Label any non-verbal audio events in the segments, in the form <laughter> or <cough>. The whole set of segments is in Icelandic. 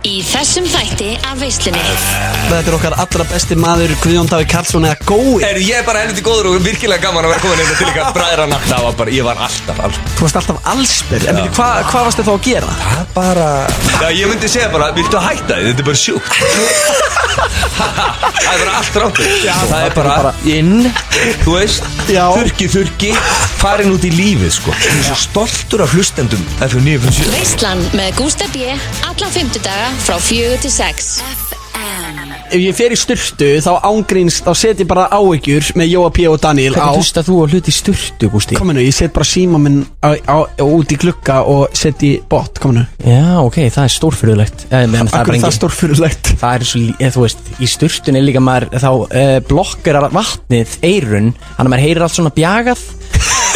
Í þessum þætti af veislunni Þetta er okkar allra besti maður Guðjón Davík Karlsson eða Gói Er ég er bara helviti góður og virkilega gaman að vera komin hérna til ykkar bræðrana Það var bara, ég var alltaf alls Þú varst alltaf allsbyr En byrju, hvað hva varstu þá að gera? Það bara Já, ég myndi segja bara, viltu að hætta þið, þetta er bara sjúkt Það er bara allt rátt Já, það er bara, inn þú veist, Já. þurki, þurki Farin út í lífið, sko Ég er svo stoltur af hlustendum FM 957 Veislan með Gústa B Alla fymtudaga frá fjögur til sex Ef ég fer í styrtu þá ángríns Þá set ég bara áhyggjur með Jóa P. og Daniel á Hvernig hlust að þú að hluti styrtu, Gústi? Kominu, ég set bara síma minn á, á, út í glugga og set í bot Kominu Já, ok, það er stórfyrðulegt en, en það er Akkur bara það engin stórfyrirlegt Það er svo, lí- eða þú veist, í styrtunni líka maður Þá uh, blokkar vatnið eirun Þannig að maður heyrir allt svona bjagað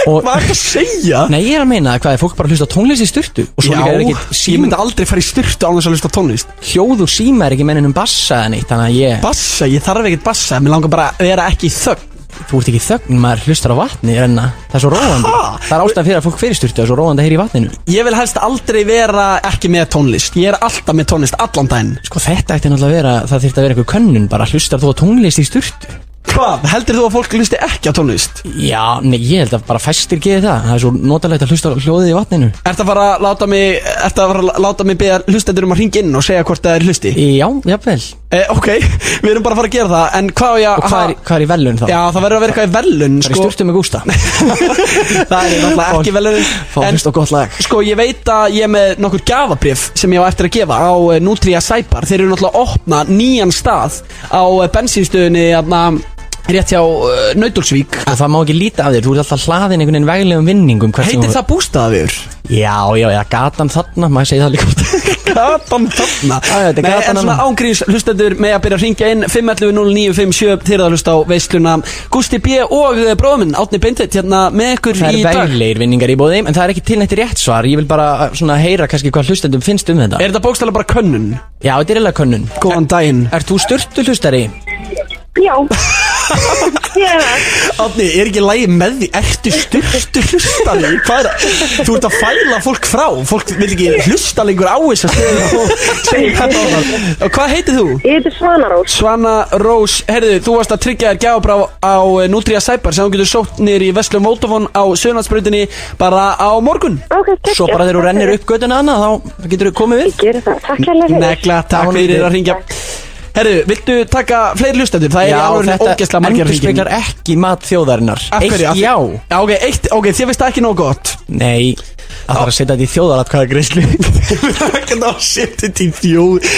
og, <laughs> Hvað er það að segja? Nei, ég er að meina hvað er fólk bara að hlusta á tónlist í styrtu Og svo Já, líka er ekki ég síma myndi aldrei fara í styrtu án þess að hlusta á tónlist Hljóð og síma er ekki mennin um bassa eða neitt Þannig að ég, Bassa, ég þarf ekkert bassa Mér langar bara að vera ekki í þögn þú ert ekki í þögn Maður hlustar á vatni, renna Það er svo róandi Ha? Það er ástæðan fyrir að fólk fyrir styrtu Það er svo róandi að heyra í vatninu Ég vil helst aldrei vera ekki með tónlist Ég er alltaf með tónlist allan daginn Sko þetta ætti náttúrulega að vera, það þyrfti að vera einhver könnun bara, hlustar þú á tónlist í styrtu? Hvað? Heldur þú að fólk hlusti ekki á tónlist? Já, nei, ég held að bara fæstir geði það Það er svo notalegt að hlusta á hljóðið í vatninu Ertu að fara að láta mig Ertu að fara að láta mig beða hlustendur um að ringa inn og segja hvort það er hlusti? Já, jafnvel Eh, ok, <laughs> við erum bara að fara að gera það En hvað á ég Og að hvað er, hvað er í velun þá? Já, það verður að vera eitthvað í velun það er sko. í styrtu með <laughs> Gústa Það er náttúrulega ekki velun Fá að hlusta á gott lag Sko, ég veit að ég er með nokkur gafabrif sem ég á eftir að gefa á eh, Nutria Sæpar. Þeir eru náttúrulega að opna nýjan stað á eh, bensínstöðinni þarna, rétt hjá uh, Nautilsvík. Og það má ekki líta af þér, þú ert alltaf hlaðin einhvern veginn veglegum vinningum hvert sem Heitir þú- það bústaðafjör? Já, já, já, gatan þarna, maður segi það líka <laughs> oft. Gatan þarna Já, já, þetta er Nei, gatan en svona þarna. ángríns hlustendur með að byrja að ringja inn 511-0957 til að hlusta á veisluna Gusti B. og eh, bróðuminn Átni Beintitt hérna með ykkur Það í er dag veglegir vinningar í bóði En það er ekki tilnætt rétt svar, ég vil bara uh, svona heyra kannski hvað hlustendum finnst um þetta Er þetta bókstæla bara könnun? Já, þetta er eiginlega könnun Góðan daginn Ert þú styrtu hlustari? Já, ég <laughs> er það. Átni, er ekki lægi með því? Ertu styrstu hlustandi? Hvað er það? Þú ert að fæla fólk frá Fólk vil ekki hlusta lengur á þess að <laughs> stöðu Hvað heitir þú? Ég heiti Svanarós. Svana Rós, herðu, þú varst að tryggja þér gjábrá á eh, Nutria Cyber sem þú getur sótt nýr í Vestlum Vótafón á Söðnarsbrautinni bara á morgun Ok, takk. Svo bara þegar þú rennir upp göttuna hana þá getur þú komið við Ég gerir það. Takk hérlega fyrir. Negla, takk Ánægður. fyrir að ringja Herðu, viltu taka fleiri hlustendur? Það er í alveg ógeðslega margir að ringja endurspeglar ekki mat þjóðarinnar Af hverju? Af Eitt því- já Já, ok, eitt, ok, þið veist það ekki nóg gott Nei, það þarf að setja þetta í <laughs> þjóðaratkvæðagreyslu Við erum ekki að setja þetta í þjóð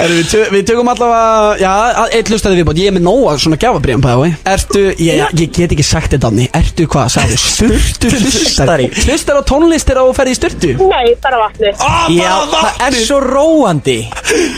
Herru, við, tö- við tökum allavega Já, að- einn hlustandi viðbót Ég er með nóga svona gjafabrýðan pæði Ertu, ég, ég get ekki sagt þetta Anni Ertu hvað, sagði Sturtu hlustari hlustari. Hlustar á tónlistir á að ferði í sturtu Nei, bara vatni. Já, það er svo róandi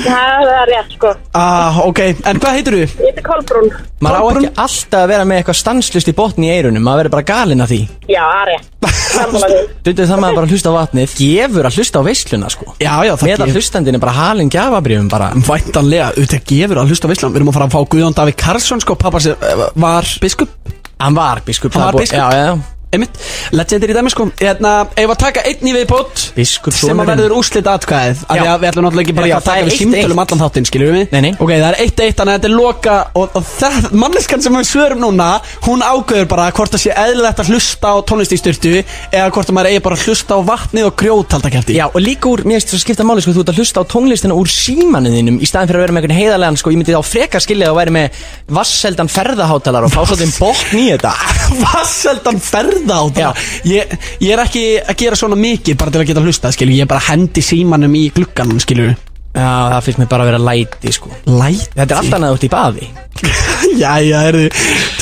Það er rétt, sko. Ah, ok, en hvað heitir þú? Ég heiti Kolbrún. Maður á Kolbrún. ekki alltaf að vera með eitthvað stanslust í botni í eirunum Maður verður bara galinn af því Já, það <laughs> er rétt. Sammála því. Dundið það maður bara að hlusta á vatnið Gefur að hlusta á veisluna sko Já, já, það Meðal hlustandinn er bara halinn gjafabrifum bara Væntanlega, auðvitað gefur að hlusta á Ísland Við erum að fara að fá Guðjón Davík Karlsson Sko, pappa sem eh, var biskup Hann var biskup Hann það var er búið- biskup. Já, já, já. Einmitt, legendir í dæmi sko Eðna, ef að taka einn í viðbót Biskup Sem að sonurinn. verður úslit atkvæðið Af því Já. að við ætlum náttúrulega ekki bara Já, að það taka er við eitt símtölum eitt. allan þáttinn Skiljum við mig Nei, nei. Ok, það er eitt eitt, þannig að þetta er loka Og, og það, manneskan sem við svörum núna Hún ágöður bara hvort það sé eðlilegt að hlusta á tónlist í styrtu Eða hvort að maður eigi bara að hlusta á vatnið og grjótaldakæfti Já, og líka úr, mér finnst það skipta máli, sko, þú ert að hlusta á tónlistina úr símanuðinum í staðin fyrir að vera með einhvern heiðarlegan, sko, ég myndi þá frekar skilja að væri með vasseldan ferðahátalar og fá svo þeim botn í þetta. <laughs> Vasseldan ferða á það ég, ég er ekki að gera svona mikið bara til að geta hlusta, skilju Ég er bara að hendi símanum í glugganum, skilju Já, það finnst mér bara að vera læti, sko. Læti Þetta er alltaf næður út í baði. <laughs> Jæja, herðu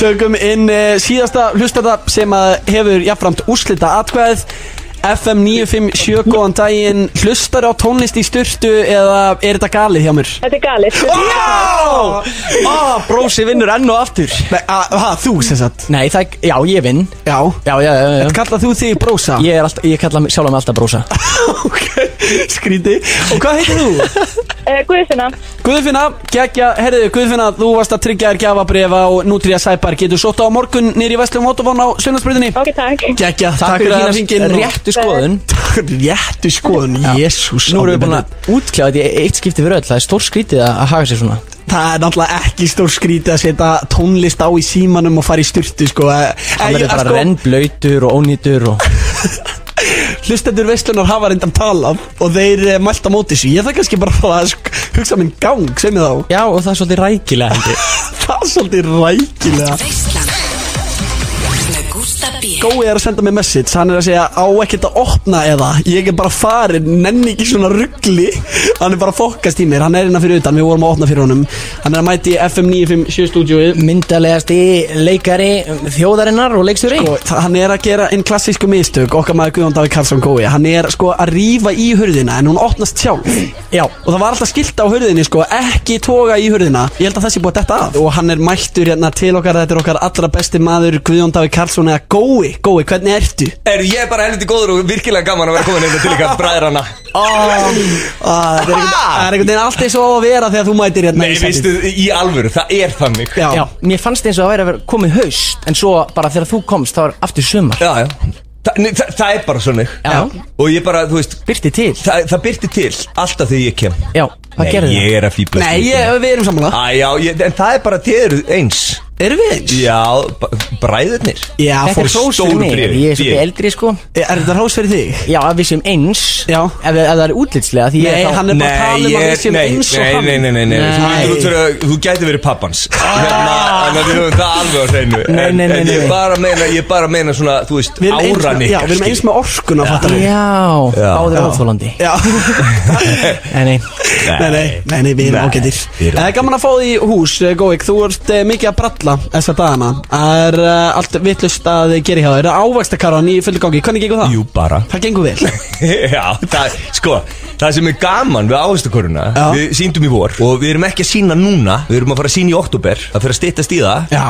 Tökum inn uh, síðasta hlustata sem að hefur jafnframt úrslita atkvæðið FM 957, góðan daginn Hlustar á tónlist í styrtu eða er þetta galið hjá mér? Þetta er galið. Ah. Oh! Ó, Ah, brósi vinnur enn og aftur. Nei, a- ha, þú sem sagt Nei, það er, já, ég vinn. Já Já, já, já, já. Kallað þú þig brósa? Ég er alltaf, ég kalla mig- sjálfan mig alltaf brósa. Ok Skríti Og hvað heitir þú? Uh, Guðfinna, Guðfinna, geggja, herðu, Guðfinna, þú varst að tryggja þér gjafabrifa á Nútríja Sæpar Getur sótt á morgun nýri Vestlum Votofón á Sunnarsprutinni ok, takk. Geggja, takk fyrir að ringin réttu skoðun réttu skoðun, jésús Nú erum við búin að útkljá þetta í eitt skipti fyrir öll Það er stór skrítið að að haga sér svona Það er náttúrulega ekki stór skríti að setja tónlist á í símanum og fara í styrtu sko Hann verður bara rennblöytur og ónýtur og Hlustendur veistlunar hafa reyndan talað og þeir eh, mælt á móti þessu Ég þarf kannski bara að fara að sk- hugsa minn gang, sem ég þá <laughs> Já, og það er svolítið rækilega hendi Það er svolítið rækilega Veislan Með Gústa B Gói er að senda mig message, hann er að segja á ekkert að opna eða Ég er bara farin, nenni ekki svona ruggli Hann er bara að fokkast í mér, hann er innan fyrir utan, við vorum að opna fyrir honum Hann er að mæti í FM 957 stúdíóið Myndalegasti leikari þjóðarinnar og leikstjóri Sko, þa- hann er að gera einn klassísku mistök okkar maður Guðjón Davík Karlsson Gói hann er sko að rífa í hurðina en hún opnast sjálf Já. og það var alltaf skilt á hurðinni sko ekki toga í hurðina ég held að þessi búið þetta af og hann er mættur hérna til okkar þetta er okkar allra besti maður Guðjón Davík Karlsson eða Gói Gói hvernig ertu? Er ég er bara helviti góður og virkilega gaman að vera komin hérna til ykkar bræðrana Ah, það er einhvern- það er einhvern veginn allt eins og á að vera þegar þú mætir hérna Nei, í sætið. veistu, í alvöru, það er þannig Já. Já, mér fannst eins og það væri að vera komið haust En svo bara þegar þú komst þá er aftur sumar Já, já Þa, nei, það, það er bara svona Já. Og ég bara, þú veist Byrti til Það, það byrti til alltaf þegar ég kem Já, hvað Nei, gerði ég er að fýblast Nei, ég, við erum samanlega Æ, já, ég, en það er bara þið eru eins Erum við eins? Já, b- bræðurnir Já, það? Þetta fór er hrós stóru fyrir mig, bréfi, ég er bréfi. svolítið eldri sko Er þetta hrós fyrir þig? Já, að við séum eins Já. Ef, ef það er útlitslega Því ég Nei, er þá hann er bara að tala um að við ég, séum nei, eins og nei, hann Ah. nei, nei, nei, nei, Þú, Nei. þú, þú, þú gæti verið pappans Þannig að við höfum það alveg á hreinu Nei, nei, nei, en, en ég nei. bara meina, ég bara meina svona, þú veist, Við erum eins áran með- Já, ykkar við erum eins með orkuna, fattar við Já, Já. báðir óþólandi Já Nei, nei <laughs> Nei, nei, nei, nei, við erum Nei, ágættir við erum Það er gaman að fá því í hús, eh, Góik Þú ert eh, mikið að bralla þessa dagana Það er uh, allt vittlust að þið gera hjá þér Ávaxtakarvan í fullu gangi, hvernig gengur það? Jú, bara <laughs> Það gengur vel Já, það, sko, það sem er gaman við áherslukoruna Já. Við síndum í vor og við erum ekki að sína núna Við erum að fara að sína í oktober Það fyrir að styttast í það Já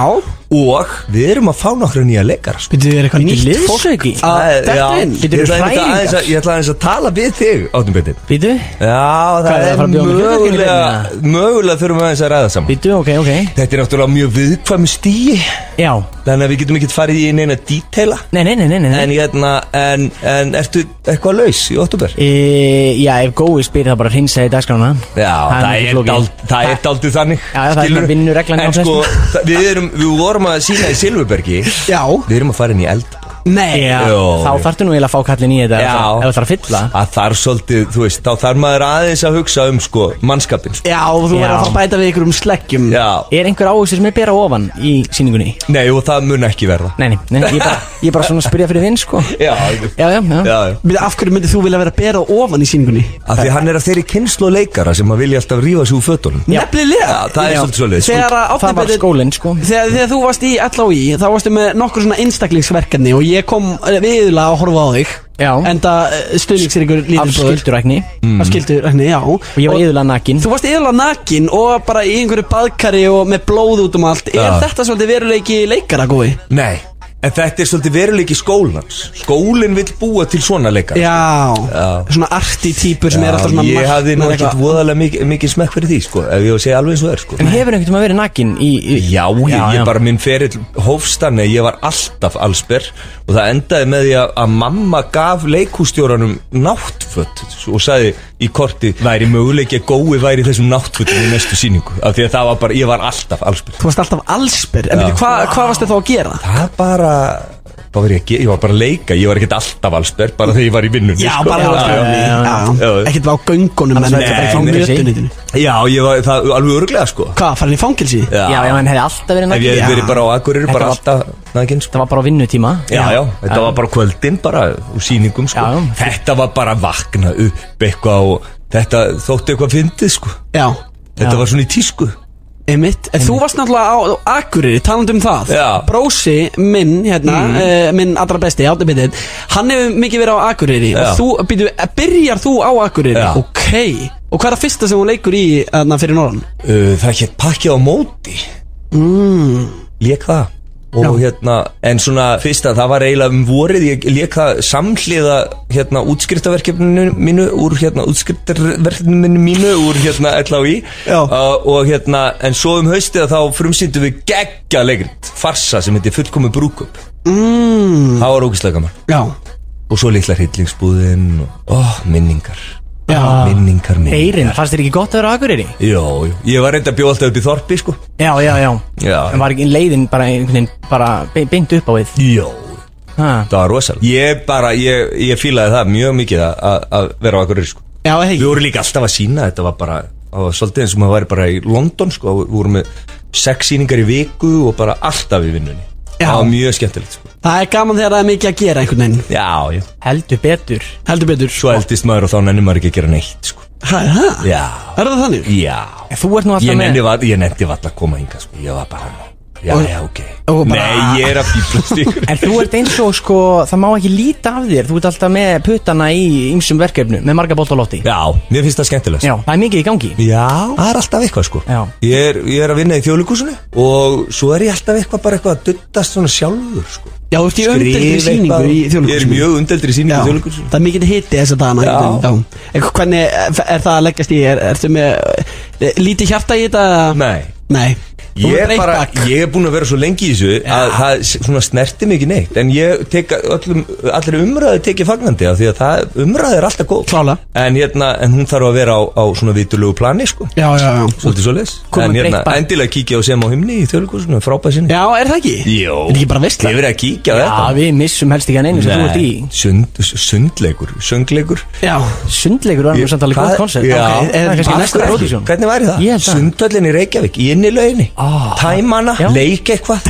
Og við erum að fá nokkra nýja leikara sko. Býttu þið er eitthvað Bíddu, nýtt fólk liðsauki? að Það- detta Eh, já, inn? ég Bíddu, ætla einmitt að hræringar? aðeins að- Ég ætla aðeins að tala við þig, Átnum Beitin Býtu, Já, það, Hvað, er það að er fara að bjóða hérna? mér mögulega hlutabréfin, Mögulega þurfum við aðeins að ræða saman býtu, ok, ok Þetta er náttúrulega mjög viðkvæmi stíi Já, Þannig að við getum ekkert farið í neina detaila nei, nei, nei, nei, nei. En, hérna, en, en ertu eitthvað laus í oktober? E, já, ef gói spyr það bara að hreinsa í dagskrána Já, nú það ekki er, flókið. dál, það er daldið þannig Já, já, það er skilurðu? svona vinnureglan hjá En flestum. sko, það- við, erum, við vorum að sína í Silfurbergi Já, Við erum að fara inn í eld nei Já, Jó. þá þarftu nú eiginlega að fá kallin í þetta ef það- Ef það þarf að fylla Að þar svolítið, þú veist, þá þarf maður aðeins að hugsa um sko, mannskapin sko. Já, þú verður Já. að fara að bæta við ykkur um sleggjum Já, Er einhver áhugstur sem er bera ofan í síningunni? nei og það mun ekki verða Nei, nei, nei ég, bara, ég bara svona að spyrja fyrir þinn sko Já, Já, já, já, já, já Býttu, af hverju myndir þú vilja vera að bera ofan í síningunni? Af því hann er að þeirri kynslu og leikara sem að vilja alltaf rífa sig úr fötunum Nefnilega Já, það er Já. svolítið svoleiðis. Þegar að Það var átnibetið skólinn, sko. þegar, þegar þú varst í LHI Þá varstu með nokkur svona einstaklingsverkefni Og ég kom viðla að horfa á þig eh, Já. En það stuðningsir ykkur Af lítið bróður skildurækni Mm. Af skildur, já Og Og ég var yðurlega nakin Þú varst yfirlega nakin og bara í einhverju baðkari og með blóð út um allt Er Já. þetta svolítið veruleiki leikara gói? Nei, en þetta er svolítið veruleiki skólans Skólinn vill búa til svona leikara Já, Já. svona arti típur sem er alltaf svona Ég markmenn hafði nú eitthvað. ekkert voðalega mikið, mikið smekk fyrir því sko, ef ég á að segja alveg eins og það er sko. En hefur einhvern veginn verið nakin í, í Já, ég, ég bara minn ferill hófstann eða ég var alltaf allsber og það endaði með því að, að mamma gaf leikústjóranum náttfött og sagði í korti væri möguleiki að gói væri í þessum náttfötum í næstu síningu af því að það var bara, ég var alltaf allsber Þú varst alltaf allsbyr En veitir, hvað hva varstu þá að gera? Það bara, bara var ég, að ge- ég var bara að leika, ég var ekkert alltaf allsber bara þegar ég var í vinnunni Já, sko. bara Já, alltaf já, já. Já, Já. ekkert á göngunum en Annars þetta bara þetta væri frá bara fangelsi. mötunitinu Já, ég var það alveg örglega sko Hvað, farin í fangelsi? Já, já, en hefði alltaf verið Ef nakin ég Já. hef verið bara á Akureyri, bara Þetta alltaf næginn sko Það var bara á vinnutíma Já, já, þetta var bara kvöldin bara úr sýningum sko Já, já. Þetta var bara að vakna upp eitthvað og þetta þótti eitthvað fyndið sko Já, Þetta var svona í tísku einmitt En þú varst náttúrulega á Akureyri, talandi um það Já. Mm. Brósi minn, hérna, eh, minn allra besti, Átni Bittin Hann hefur mikið verið á Akureyri Já. Og þú, býtu, byrjar þú á Akureyri? Já. Ok, og hvað er það fyrsta sem hún leikur í hérna, þarna fyrir norðan? uh, Það hétt pakkið á móti mm. Lék það og hérna, en svona fyrsta það var eiginlega um vorið, ég lék það samhliða hérna útskriftaverkefninu mínu úr hérna útskriftaverkefninu mínu úr hérna LHI Já. uh, og hérna, en svo um haustið þá frumsýndum við geggja leikrit farsa sem heitir fullkomi brúkup mm. það var ógislega gaman Já, og svo litla hryllingsbúðin og oh, minningar Já. minningar, minningar Eirinn, fannst þér ekki gott að vera á Akureyri? Jó, jó, ég var reynda að bjóða alltaf upp í þorpi sko Já, já, já Já. En var ekki leiðin bara einhvern veginn bara be- beint upp á við Jó, ha. það var rosalega Ég bara, ég, ég fílaði það mjög mikið að- að að vera á Akureyri sko já hei Við vorum líka alltaf að sína, þetta var bara það var svolítið eins og maður væri bara í London sko Við vorum með sex síningar í viku og bara alltaf í vinnunni Já. Það var mjög skemmtilegt sko Það er gaman þegar það er mikið að gera einhvern veginn Já, já Heldur betur Heldur betur Svo eldist maður og þá nennir maður ekki að gera neitt sko Hæ, hæ, Já, er það þannig? já En þú ert nú Ég alltaf nenni með vall, ég nenni vall að koma hinga sko Ég var bara, já, já, ok og bara- Nei, ég er að fíblast ykkur En þú ert eins og sko, það má ekki líta af þér Þú ert alltaf með puttana í ymsum verkefnu Með marga bolt á lofti Já, mér finnst það skemmtilegast Já, það er mikið í gangi Já, það er alltaf eitthvað sko Já. ég er, ég er að vinna í þjóðleikúsinu Og svo er ég alltaf eitthvað bara eitthvað að duttast svona sjálfur sko Já, þú ert í Skrifa umdeldri sýningu eitthvað. í þjóðleikhúsinu Ég er mjög umdeldri sýningu í Já, þjóðleikúsinu það er mikið hitti þess að dana Já. einhvern veginn, já. En Hvernig eh, er- er það að leggjast í? Er, ertu með eh, lítið hjarta í þetta? Nei Nei Þú Ég ert er, reitt bara, bakk. ég er búin að vera svo lengi í þessu að það s- svona snerti mig ekki neitt en ég tek öllum, allir umræði tekið fagnandi af því að það, umræði er alltaf góð Klálega. en, hérna, en hún þarf að vera á, á svona vitulegu plani sko Já, já, já Svolítið svo leis Komum En hérna, breytt bara. endilega kíkja og sem á himni í þjóðleikúsinu, frábæð sinni Já, er það ekki? Jó Er það ekki bara veistla? Ég verið að kíkja á Já, þetta við missum helst ekki að neinu sem þú ert í sund, sundleikur, söngleikur Já Sundleikur var nú samt alveg Hvað- góð koncert Já. Ok, Það er kannski Af næsta hverju? Eurovision Hvernig væri það? Ég held það. Sundvöllin í Reykjavík, í innilauginni Ah. Tæmana, Já. leik <laughs> eitthvað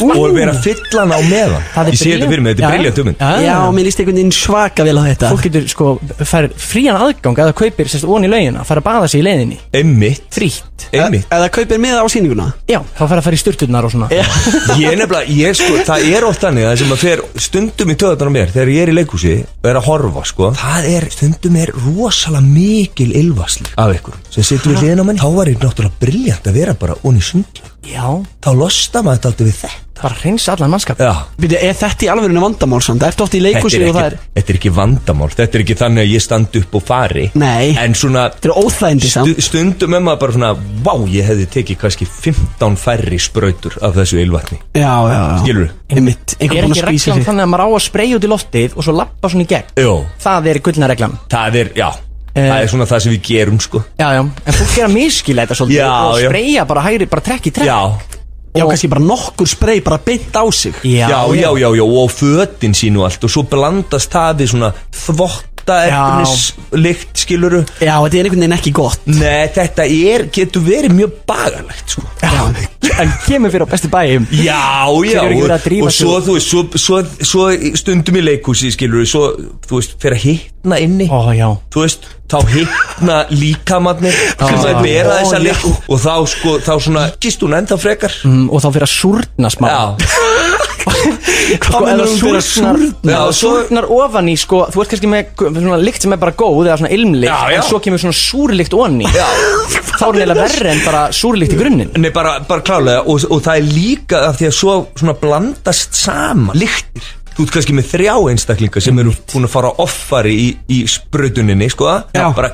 Og vera fyllan á meðan Það er Ég sé þetta brilliant. fyrir mig, þetta Já, er já. briljant um Já. Já, mér líst einhvern veginn svaka vel á þetta Fólk getur sko, fær frían aðgang að það kaupir sérst von í laugina Fær að baða sig í leiðinni Einmitt, Frítt <laughs> einmitt Eða kaupir miða á sýninguna Já, þá fær að fara í sturturnar og svona Ég er nefnilega, ég sko, það er oft þannig að sem að fer stundum í töðan á mér Þegar ég er í leikhúsi og er að horfa, sko Það er, stundum er rosalega mikil ylvasli af ykkur Sem situr við hliðin á manni Þá var ég náttúrulega briljant að vera bara onni sund Já, Þá losna maður þetta aldrei við þetta bara hreins allan mannskap Já, Býtu, er þetta í alvegurinu vandamál samt? Ertu oft í þetta er, leikhúsi og það er ekki, þetta er ekki vandamál Þetta er ekki þannig að ég standi upp og fari Nei. En svona Þetta er óþægindi samt stu, stundum er maður bara svona Vá, ég hefði tekið kannski 15 færri sprautur af þessu ylvatni Já, já, já Skilurðu? Einmitt, Er einhver búinn ekki að skvísa reglan sig þannig að maður á að spreyja út í loftið og svo lappa svona í gegn? Jó, Það er gullna reglan það er, já Það er svona það sem við gerum, sko Já, já, en fólk er að miskila þetta svolítið Já, og já. spreyja bara hægri, bara trekk í trekk Já, Já, kannski bara nokkur sprey bara beint á sig já, já, já, já, Og á fötin sín og allt Og svo blandast það við svona þvotta Já. efnis Lykt, skiluru Já, þetta er einhvern veginn ekki gott Nei, þetta er, getur verið mjög bagalegt, sko En kemur fyrir á bestu bæjum Já, já, eru ekki verið að og, drífa og sig svo, þú veist, svo, svo, svo stundum í leikhúsi, skilur við, svo, þú veist, fer að hittna inni, Ó, já þú veist, þá hittna líkamannir sem að bera Ó, þessa já. leik og þá, sko, þá svona, gist hún ennþá frekar, mm, Og þá fyrir að súrna smá já, sko, meinar eða hún fyrir að súrnar, súrna? já, Já, svo- súrnar ofan í sko, þú ert kannski með gu- svona lykt sem er bara góð eða svona ilmlykt Já, já. en svo kemur svona súrlykt ofan í já, þá er neila verri en bara súrlykt í grunninn nei, bara, bara klálega og, og það er líka af því að svo svona blandast saman lyktir. Þú ert kannski með þrjá einstaklinga sem eru búin að fara offari í, í sprutuninni, sko, Já. bara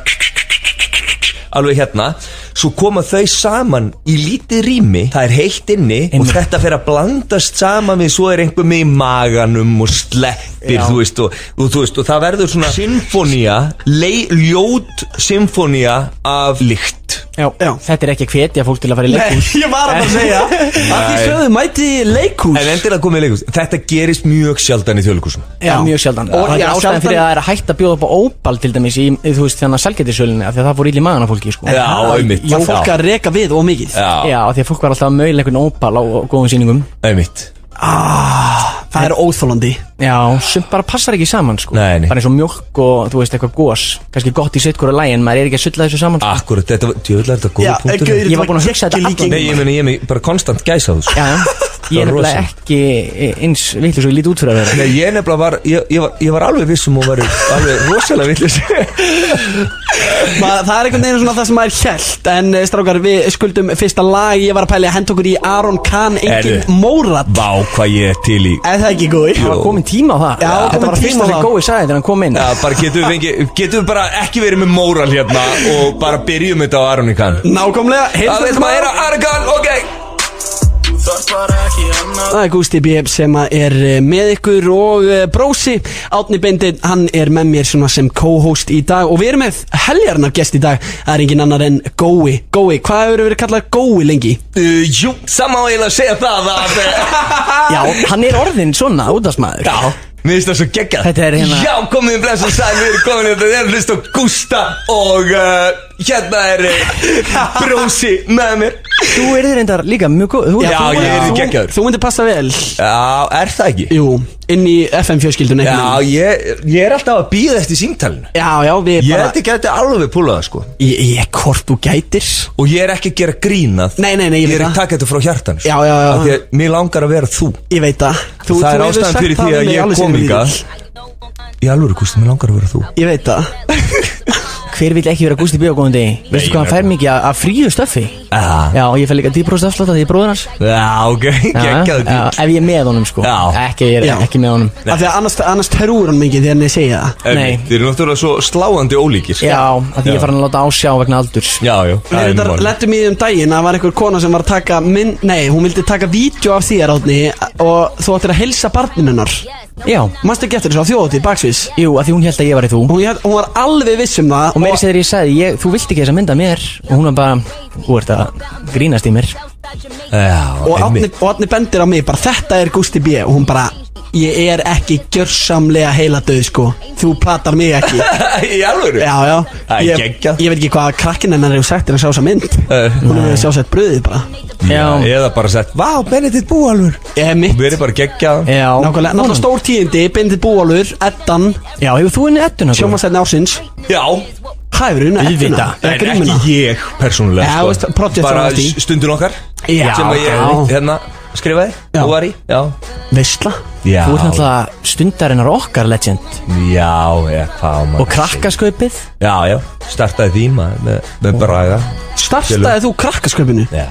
alveg hérna svo koma þau saman í lítið rými það er heitt inni og þetta fer að blandast saman við svo er einhver með í maganum og sleppir þú veist og, og, þú veist og það verður svona symfónía, lei- ljót symfónía af lykt já. Já. þetta er ekki að hvetja fólk til að fara í Nei, leikhús ég var að bara segja Að því sögðu mæti í leikhús en endilega komið í leikus þetta gerist mjög sjaldan í þjóðleikusum Já, mjög sjaldan Og Og já, það er ástæðan sjaldan- fyrir að það er að hætta að bjóða upp á óbal til dæmis í, í þú veist, þannig að selgetisölunni af því að það fór illi maðan á fólki, sko Já, einmitt Já, fólk að reka við og mikið Já, Já, af því að fólk var alltaf að mögla einhvern óbal á, á góðum sýningum einmitt Ah, Það er óþólandi Já, sem bara passar ekki saman, sko Nei, nei. Bara eins og mjölk og, þú veist, eitthvað gós Kannski gott í sitt hverju lægin, maður er ekki að sulla þessu saman, sko akkurat, þetta var djöðlega þetta góða punktur Ég var búin að hugsa þetta allan nei, ég meni, ég meni bara konstant gæsa þú Já, já Ég <laughs> er Það var nefnilega rosalegt. ekki eins vitlu svo ég líti út fyrir að vera Nei, ég nefnilega var, ég, ég var, ég var alveg vissum og var alveg rosalega villis Ma, það er einhvern veginn svona það sem maður held En eh, strákar, við skuldum fyrsta lag Ég var að pæli að henda okkur í Aron Kahn Engin Heyrðu. Mórat <laughs> Vá, hvað ég er til í Er það ekki góði? Jú. Það var komin tíma á það Já, Þetta kominn var tími á að fyrsta sem það. Gói sagði þegar hann kom inn Já, bara getum við fengi, getum við bara ekki verið með móral hérna og bara byrjum þetta á Aronikan Nákvæmlega, Það heyrðu vil maður er á Aronikan, ok Það er Gústi B. sem að er eh, með ykkur og eh, Brósi Átni Bindin, hann er með mér svona sem co-host í dag Og við erum með heljarnar gest í dag Það er engin annar en Gói Gói, hvað hefur verið kallað Gói lengi? uh, Jú, sama á eiginlega að segja það að Já, hann er orðinn svona útastmaður Já, mér finnst það svo geggjað Þetta er hérna- Já, komið í blessun sæl, við erum komin hérna Við erum hlust á Gústa og uh, hérna er uh, Brósi með mér Þú er reyndar líka mjög góð þú- Já, þú- ég er þú- geggjaður. Þú myndir passa vel Já, er það ekki? Jú, inn í FM fjölskyldun Já, ég, ég er alltaf að býða eftir símtalinu já, já, við Ég bara held ekki að þetta alveg púlaða sko Ég, ég, hvort þú gætir Og ég er ekki að gera grínað Nei, nei, nei, ég Ég veit er að það taka þetta frá hjartan Já, já, já. Því að mér langar að vera þú Ég veit það Þú- Það er þú hefur ástæðan sagt fyrir það því við að mig alveg ég sem kom lítill. hingað Í alvöru, Gústi, mér langar að vera þú Ég veit það Hver vil ekki vera Gústi B. á góðum degi? Veistu hvað hann fær mikið af- af fríu stöffi? Já, Já, ég fær líka 10% afslátt að því ég er bróður hans já, ok, Já, geggjaðu já, Ef ég er með honum sko Já. Ekki, ég Já. er ekki með honum Af því að annars, annars terúur hann mikið þegar hann segja það En Nei. Þið eru náttúrulega svo sláandi ólíkir sko. Já, að því ég Já. er farin að láta ásjá vegna aldurs já, já Við það er þetta mál. lettum í því um daginn að það var einhver kona sem var að taka minn, Nei, hún vildi taka vídeo af þér átni Og þú ættir að helsa barninunar Já, Manstu ekki eftir þessu á þjóðatíð baksvís jú, að því hún held að ég var í þú hún, ég- hún var alveg viss um það Og meiri sér þegar ég sagði, ég, þú vilt ekki þessa mynda mér Og hún var bara, þú ert að grínast í mér Já, og Átni, einmitt. og Átni bendir á mig bara þetta er Gusti B og hún bara ég er ekki gjörsamlega heiladauð sko þú platar mig <laughs> ekki Í alvöru já já Það er ég, geggjað. ég veit ekki hvað krakkinn hennar hefur sagt en að sjá þessa mynd Eh. hún hefur sjá sett bröðið bara Já. Eða bara sett, vá, Benedikt Búalvur ég hef mitt Við erum bara geggjað Já, nákvæmlega náttúrulega Vonandi. stór tíðindi bindið búalur eddan Já, hefur þú henni ettuna? sjómasætni ársins Já, hæfur hún Auðvitað. eða En grímuna ekki ég persónulega sko. Já, veist, project Bara var allt í. stundin okkar Já, Sem að ég já. hérna skrifaði Já. og var í Já, veistla já Þú ert náttúrulega stundarinnar okkar legend Já, já, hvað á maður Og krakkaskaupið Já, já, startaði því maður með, með braga startaði þú krakkasköpinu Já,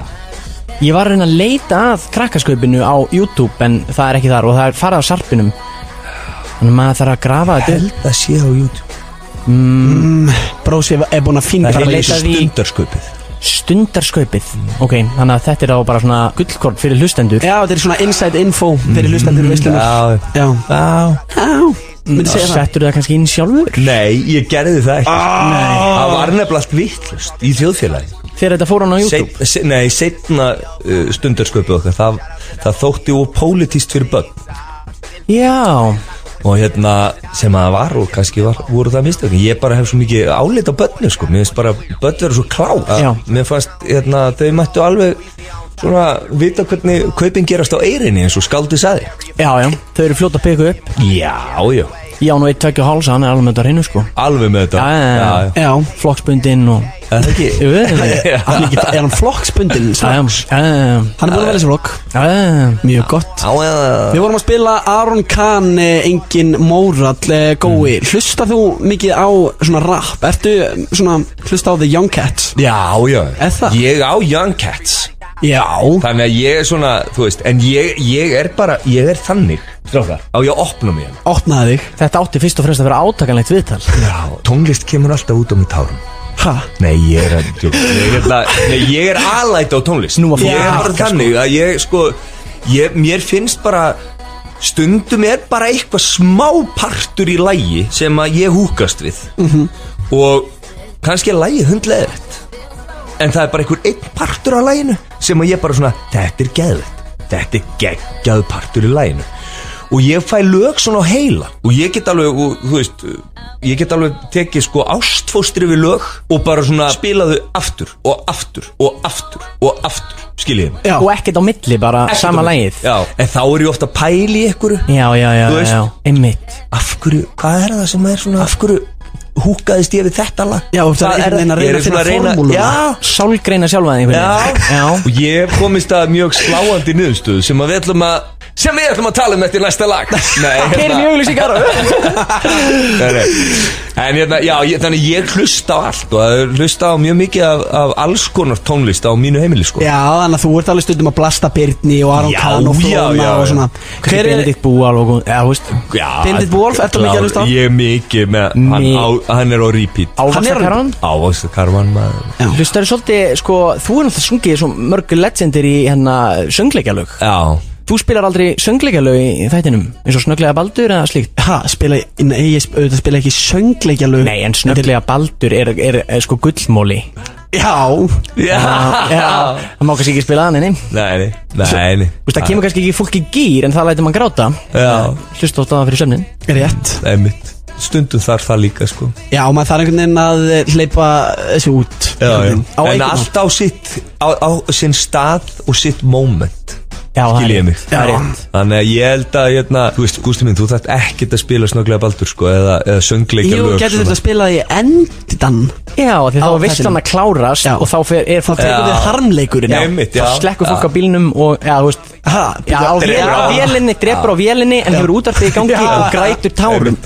Ég var að reyna að leita að krakkaskaupinu á YouTube En það er ekki þar og það er farað á sarpinum Þannig að maður þarf að grafa þetta upp. það sé á YouTube Mm, brósi er búin að finna Það að er leita leita því- stundarskupið Stundarskaupið Ok, þannig að þetta er á bara svona gullkorn fyrir hlustendur já þetta er svona inside info fyrir hlustendur veistlunar Já, já já myndi segja það Settur það kannski inn sjálfur Nei, ég gerði það ekki Nei Ah. Það var nefnilega allt vittlust í þjóðfélagi Þegar þetta fór hann á YouTube Seit, se, Nei, setna uh, stundarsköpið okkar það, það þótti úr pólitíst fyrir börn Já, og hérna sem að það var og kannski var, voru það mistökin ég bara hef svo mikið álit á börnum sko mér finnst bara börn vera svo klá Já. að mér fannst hérna þau mættu alveg svona vita hvernig kaupin gerast á eirinni eins og skaldi saði já, já Þau eru fljótt að peka upp já, já, Ég á nú eitt tveggja hálsa, hann er alveg með þetta á hreinu sko alveg með þetta Já, já, já. já Flokksbundinn og Er það ekki Jú, þetta Já. er- Hann er, ekki, er hann flokksbundin? Já, sagði já, hann? já, já, Hann er búin að velja sér flokk já, já, já. Mjög gott á eða Við vorum að spila Aron Kahn, eh, engin Mórall, eh, gói Hlustar þú mikið á svona rap? Ertu eh, svona, hlusta á The Young Cats? Já, já, Er það? ég á Young Cats Já Þannig að ég er svona, þú veist, en ég, ég er bara, ég er þannig Strákar Á ég að opna hérna? mér Opnaði þig Þetta átti fyrst og fremst að vera átakanlegt viðtal Já, tónlist kemur alltaf út á mig tárum Ha? Nei, ég er að djóka. Ég er, að, nei, ég er alæt á tónlist Nú að fólk Ég er hætta, bara þannig að ég sko ég, Mér finnst bara Stundum er bara eitthvað smá partur í lægi Sem að ég húkast við -hmm. Og kannski er lægi hundleðrætt En það er bara einhver einn partur á læginu Sem að ég bara svona Þetta er geðvætt Þetta er geggjað partur í læginu Og ég fæ lög svona á heila Og ég get alveg, og, þú veist Ég get alveg tekið sko ástfóstri við lög Og bara svona spilaðu aftur Og aftur og aftur og aftur Skiljiði mig Já Og ekkert á milli, bara Ekkert sama um- lagið Já, en þá er ég ofta að pæla í einhverju Já, já, já, Þú já, veist. já, einmitt Af hverju, hvað er það sem er svona Af hverju húkaðist ég við þetta lag Já, og það er einhvern veginn að ég reyna er að finna svona formúluna. Já, Sálgreina sjálfa þig Já. Já og ég hef komist að mjög sláandi niðurstöðu sem að við ætlum að sem við ætlum að tala um eftir næsta <laughs> lag Nei, hérna- Heyrum í auglýsingar <laughs> Nei, nei. En hérna, já, ég, þannig ég hlusta á allt og það er hlusta á mjög mikið af, af alls konar tónlist á mínu heimili sko. Já, þannig að þú ert alveg stundum að blasta Byrni og Aron Já, Kahn og já, Flóna já, og já. svona Hver er Benedikt Búal og Já, þú veist já Benedikt Wolf, ertu mikið að hlusta á? Ég er mikið með, hann, Mi- á, hann er á repeat Ávaxtakarvan Ávaxta Karvan maður Hlustar svolítið, sko, þú er náttúrulega sungið svo mörg legendir í hérna söngleikjalög Já, Þú spilar aldrei söngleikjalög í í þættinum eins og snögglega baldur eða slíkt Ha, spila, nei, ég sp- auðvitað spila ekki söngleikja lög Nei, en snögglega baldur er, er, er sko gullmóli <laughs> Já, já. Já, það má kannski ekki spila þannig, nei Nei, nei, nei, nei. Þú veist, það kemur kannski ekki fólk í gýr en það lætur mann gráta Já. Hlusta á það fyrir sömnin rétt Einmitt. Stundum þarf það líka sko Já, maður þarf einhvern veginn að eh, hleypa þessu út Á En einhvern hátt. allt á sitt á, á sinn stað og sitt moment Já, það er Skiljið rétt. mig Það er rétt. Þannig að ég held að hérna, Þú veist, Gústi minn, þú þarft ekkert að spila snögglega baldur sko, eða, eða söngleika Jú, lög getur svona. þetta að spila í endan Já, því Á þá veist þættinum. hann að klárast Já. og þá fer, er Það fólk tekur Já. við harmleikurinn Já, einmitt, já. þá slekkur fólk Já. á bílnum og, já, þú veist Ha, Já, á drepur vél- á- á vélinni, drepur á vélinni en hefur útarpið í gangi Já. og grætur tárum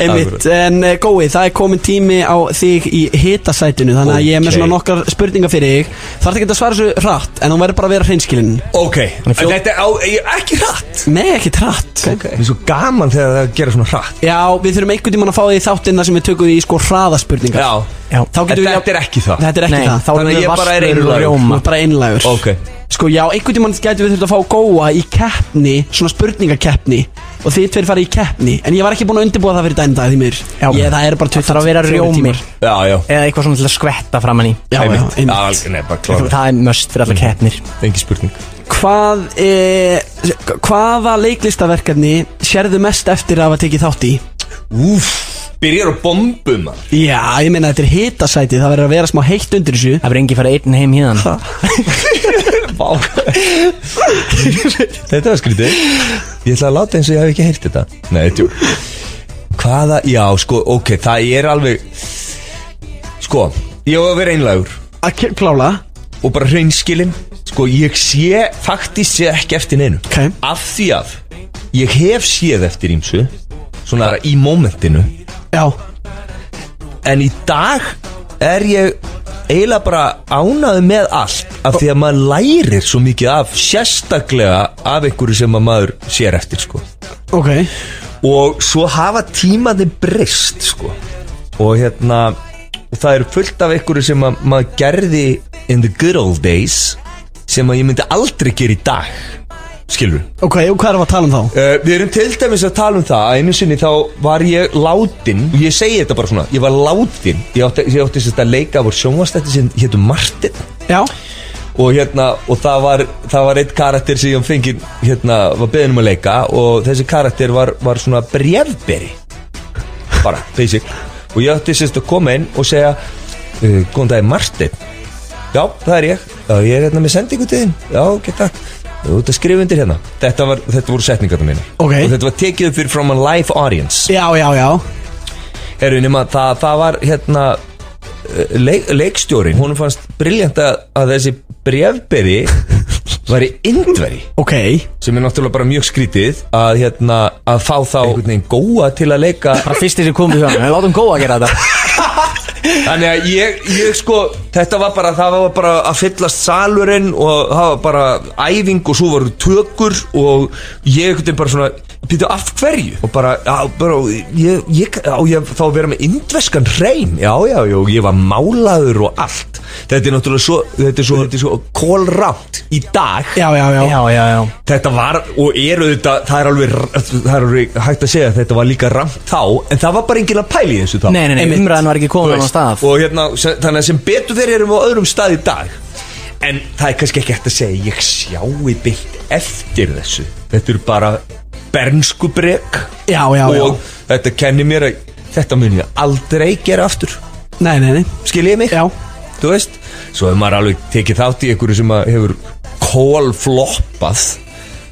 Einmitt, en eh, gói, það er komin tími á þig í hitasætinu Þannig að ég er með Ókei. svona nokkar spurningar fyrir þig Þarf ekki að svara þessu hratt, en hún verður bara að vera hreinskilin Ok, en þetta er á, ég er ekki hratt Nei, ekki hratt okay. Það er svo gaman þegar það gera svona hratt Já, við þurfum einhvern tímann að fá því þáttinn þar sem við tökum því sko hraðaspurningar Já, Já. Þá en getum við þetta er ekki það Þetta er ekki Nei, það þá erum Þannig að við ég bara er einlægur. vassnur og Þú rjóma ert bara einlægur Ok. Sko já, einhvern tímann gætum við þurft að fá góa í keppni Svona spurningakeppni Og þið tveir farið í keppni En ég var ekki búin að undirbúa það fyrir dæn dag því mér Já. ég, Það er bara 20 þarf að vera rjómi Já, já eða eitthvað svona til að skvetta framann í Já, já, einmitt Já, einmitt alveg, Nei, bara klára Það er möst fyrir alla keppnir Engi spurning Hvað, e, hvaða leiklistaverkefni sérðu mest eftir að hafa tekið þátt í? Úf, byrjar á bombum maður. Já, ég meina þetta er hitasæti, það verður að vera smá heitt undir þessu Það verður engi farið einn heim híðan Vá Þetta var skrítið Ég ætla að láta eins og ég hef ekki heyrt þetta Nei, tjú Hvaða, já, sko, ok, það er alveg Sko, ég hef að vera einlægur Að ke- klála Og bara hreinskilin Sko, ég sé, faktískt sé ekki eftir neinu Ok. Af því að Ég hef séð eftir ímsu Svona í momentinu Já, En í dag er ég eiginlega bara ánaði með allt af því að maður lærir svo mikið af sérstaklega af einhverju sem að maður sér eftir sko. ok og svo hafa tímaði breyst sko. og hérna og það eru fullt af einhverju sem að maður gerði in the good old days sem að ég myndi aldrei gera í dag skilur Ok, og hvað erum við að tala um þá? Uh, við erum til dæmis að tala um það að einu sinni þá var ég látin og ég segi þetta bara svona, ég var látin ég átti, ég átti sérst að leika af voru sjónvastætti sem hétu Martin Já, og hérna, og það var, það var eitt karakter sem ég fengi hérna, var beðin um að leika og þessi karakter var, var svona brefberi bara, basic og ég átti sérst að koma inn og segja uh, góðan dag, Martin já, það er ég, já, ég er hérna með sendingu til þín já, geta, þú ert að skrifa undir hérna þetta, var, þetta voru setningarna mínar Ok. og þetta var tekið upp fyrir from a live audience já, já, já Herru, nema það, það var hérna eh, leik, leikstjórin, hún fannst briljant að, að þessi <laughs> brefberi væri indveri Ok, sem er náttúrulega bara mjög skrítið að hérna, að fá þá einhvern veginn góa til að leika <laughs> Bara fyrstir sem komið hjá hann Látum góða að gera þetta þannig að ég, ég sko þetta var bara, það var bara að fyllast salurinn og það var bara æfing og svo voru tökur og ég einhvern veginn bara svona Pítu, af hverju? Og bara, já, bara, ég, ég, á ég þá að vera með indveskan hrein, já, já, já, og ég var málaður og allt. Þetta er náttúrulega svo, þetta er svo, þetta er svo kólrátt í dag. já, já, já Já, já, já Þetta var og eru þetta það er, alveg, það er alveg hægt að segja að þetta var líka ramt þá en það var bara enginn að pæli þessu þá Nei, nei, nei, Einmitt. umræðan var ekki Þú komin á annan veist, stað og hérna, sem- þannig að sem betur þeir erum við á öðrum stað í dag en það er kannski ekki hægt að segja ég sjái byggt eftir þessu þetta eru bara bernskubrek Já, já, já og þetta kenni mér að þetta mun ég aldrei gera aftur Nei, nei, nei skil ég mig? Já. þú veist, svo hefur maður alveg tekið þátt í einhverju sem að hefur kólfloppað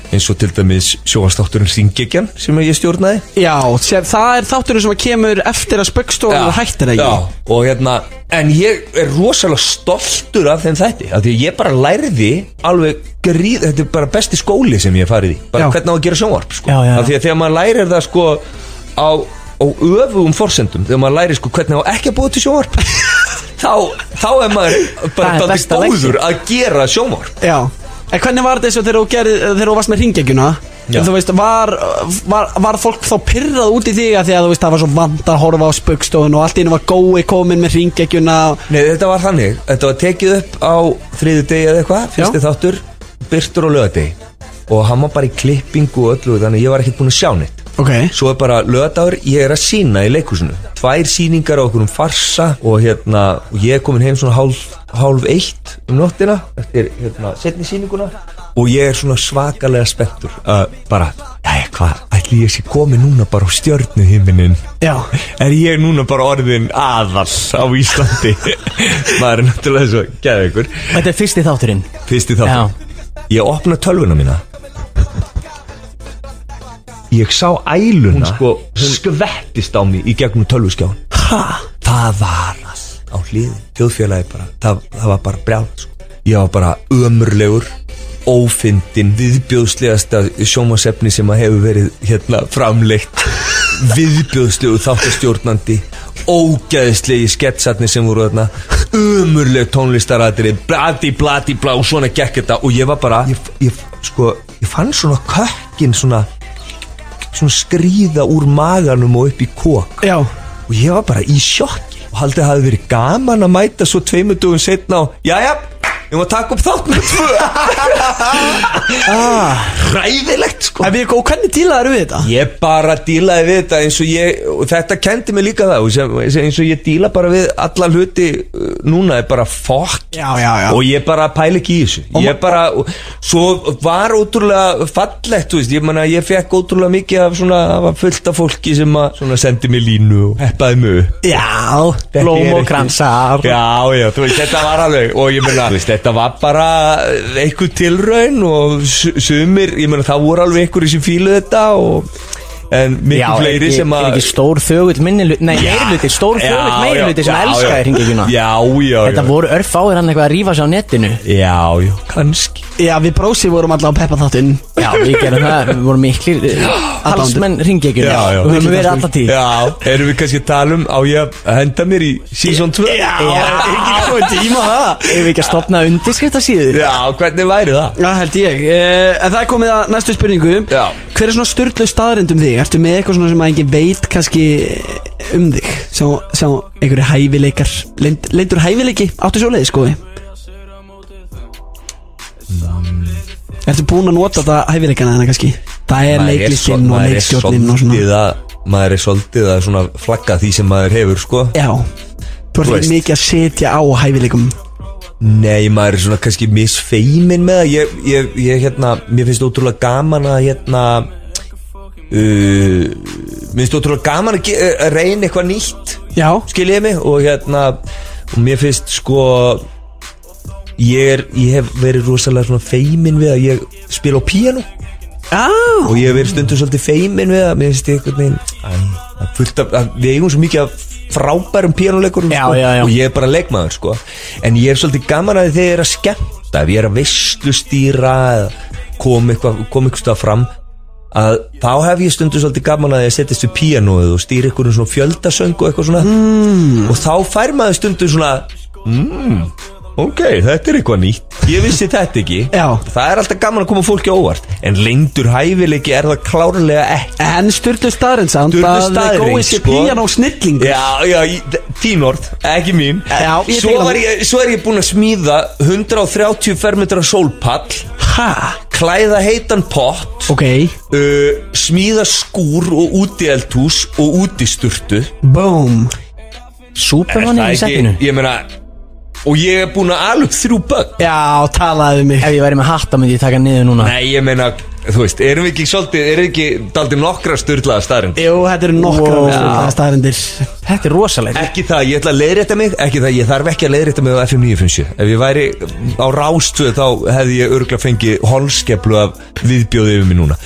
eins og til dæmis sjóastátturinn Ringegjan sem ég stjórnaði Já, sér, það er þátturinn sem kemur eftir að spöggstofan hættir ekki Já, og hérna En ég er rosalega stoltur af þeim þætti af Því að ég bara lærði alveg gríð Þetta er bara besti skóli sem ég hef farið í Bara Já. hvernig á að gera sjónvarp sko. Já, já, já. Af því að þegar maður lærir það sko Á, á öfugum forsendum Þegar maður lærir sko hvernig á ekki að búa til sjónvarp <laughs> Þá, þá er maður bara Það er dálítið besta góður að gera sjónvarp Já En hvernig var þetta eins og þegar þú gerði, þegar þú varst með ringegjuna Já. Þú veist, var, var, var fólk þá pyrrað út í þig að því að þú veist það var svo vant að horfa á spöggstofun og allt í einu var gói komin með ringegjuna Nei, þetta var þannig Þetta var tekið upp á þriðu degi eða eitthvað Fyrsti þáttur, byrtur og lögadegi Og hann var bara í klippingu og öllu Þannig að ég var ekkert búin að sjá neitt Ok Svo er bara lögadagur, ég er að sína í leikhúsinu Tvær síningar á okkur um farsa Og hérna, og ég er komin heim svona hálf, hálf eitt um nóttina Eftir hérna, setni síninguna Og ég er svona svakalega spenntur uh, Bara, jæja, hvað, ætli ég sé komin núna bara á stjörnuhiminin Já Er ég núna bara orðin aðall á <laughs> Íslandi Maður er náttúrulega svo gæði ykkur Þetta er fyrsti þátturinn Fyrst í þáttur Ég opna tölvuna mína Ég sá æluna hún sko, hún... skvettist á mig í gegnum tölvuskján ha? Það var allt á hliðin Þjóðfélagi bara, það, það var bara brjál sko. Ég var bara ömurlegur ófindin, viðbjóðslegasta sjómasefni sem að hefur verið hérna <laughs> framleitt viðbjóðslegu þáttastjórnandi ógæðislegi sketsatni sem voru þarna umurleg tónlistaratri blati blati blá og svona gekk þetta og ég var bara ég, ég, sko, ég fann svona kökkin svona, svona skríða úr maganum og upp í kók Já og ég var bara í sjokki og haldið að það hafi verið gaman að mæta svo tveimur dugum setna og jæja, ég má taka upp þátt með tvö <laughs> Ah, hræðilegt sko En við, og hvernig dílaður við þetta? Ég bara dílaði við þetta eins og ég og þetta kendi mig líka það og sem, sem- eins og ég díla bara við alla hluti uh, núna er bara fokk Já, já, já og ég bara pæla ekki í þessu ég bara, og, svo var ótrúlega fallegt, þú veist, ég manna ég fekk ótrúlega mikið af svona, það var fullt af fólki sem að svona sendi mig línu og heppaði mig upp Já, Þetta er blóm og ekki- kransar Já, já, þú veist, þetta var alveg og ég meina, þú veist, þetta var bara einhver tilraun og su- sumir, ég meina, það voru alveg einhverjir sem fíluð þetta og en miklu fleiri sem Er að ekki stór þögull minniluti Nei, meiriluti, stór þögull meiriluti sem elskaði hringegjuna Já, já, já Þetta voru örfáir hann eitthvað að rífa sig á netinu Já, já, kannski Já, við brósi vorum alltaf að peppa þáttinn Já, <laughs> við gerum það, við vorum miklir eh, Halsmenn hringegjuna Já, já. Við höfum verið alltaf tíð Já, erum við kannski að tala um á ég að henda mér í season 2 Já, ekki komið tíma það Ef við ekki að stopna undirskipta síður Já, hvernig væri það? Já, held ég eh, En það er komið að næstu spurningu Já. Hver er svona styrlu staðrind um þig? Ertu með eitthvað svona sem að engin veit kannski um þig? Sá, sá einhverju hæfileikar Leind, Leindur hæfileiki? Áttu svo leiði skoði? Mm. Ertu búin að nota þetta hæfileikana þennan kannski? Það er Maður svo- leiklisinn og maður er leikstjórnin og svona svolítið að- Maður er svolítið að svona flagga því sem maður hefur, sko Já Þú ert Þú ekki veist. mikið að setja á hæfileikum Nei, maður er svona kannski misfeimin með það ég, ég, ég hérna, mér finnst ótrúlega gaman að hérna uh, mér finnst ótrúlega gaman að, ge- að reyna eitthvað nýtt Já skil ég mig og hérna og mér finnst sko ég, er, ég hef verið rosalega svona feimin við að ég spila á píanu Já og ég hef verið stundum svolítið feimin við að mér finnst ég einhvern veginn æ, það er fullt af, að, við eigum svo mikið af frábærum píanuleikurum Já, sko, já, já. og ég er bara leikmaður sko. en ég er svolítið gaman að því þegar ég er að skemmta ef ég er að veistustýra kom eitthvað kom eitthvað stað fram að þá hef ég stundum svolítið gaman að ég settist við píanóið og stýri einhverjum svona fjöldasöng og eitthvað svona mm. og þá fær maður stundum svona mmm Ok, þetta er eitthvað nýtt Ég vissi þetta ekki Já. Það er alltaf gaman að koma fólki á óvart En lengdur hæfileiki er það klárlega ekki En styrlu staðrind samt Sturlu að staðreynd, Gói sé sko. píjan á snillingu Já, já, í- þ- þín orð, ekki mín Já, ég svo, deila var því. ég, svo er ég búinn að smíða 130 fermetra sólpall Ha? Klæða heitan pott Ok uh, Smíða skúr og úti eldhús Og úti sturtu Boom Súpermanni í settinu Ég meina Og ég er búin að alveg þrjú börn Já, talaðu mig Ef ég væri með hatta myndi ég taka hann niður núna Nei, ég meina, þú veist, erum við ekki svolítið Erum við ekki daldið nokkra styrlaða staðrind Jú, þetta eru nokkra wow. staðarindir Þetta er rosalegt Ekki það, að ég ætla að leiðrétta mig Ekki það, að ég þarf ekki að leiðrétta mig á FM 957 Ef ég væri á rástu Þá hefði ég örgulega fengið holskeplu Af viðbjóði yfir mig núna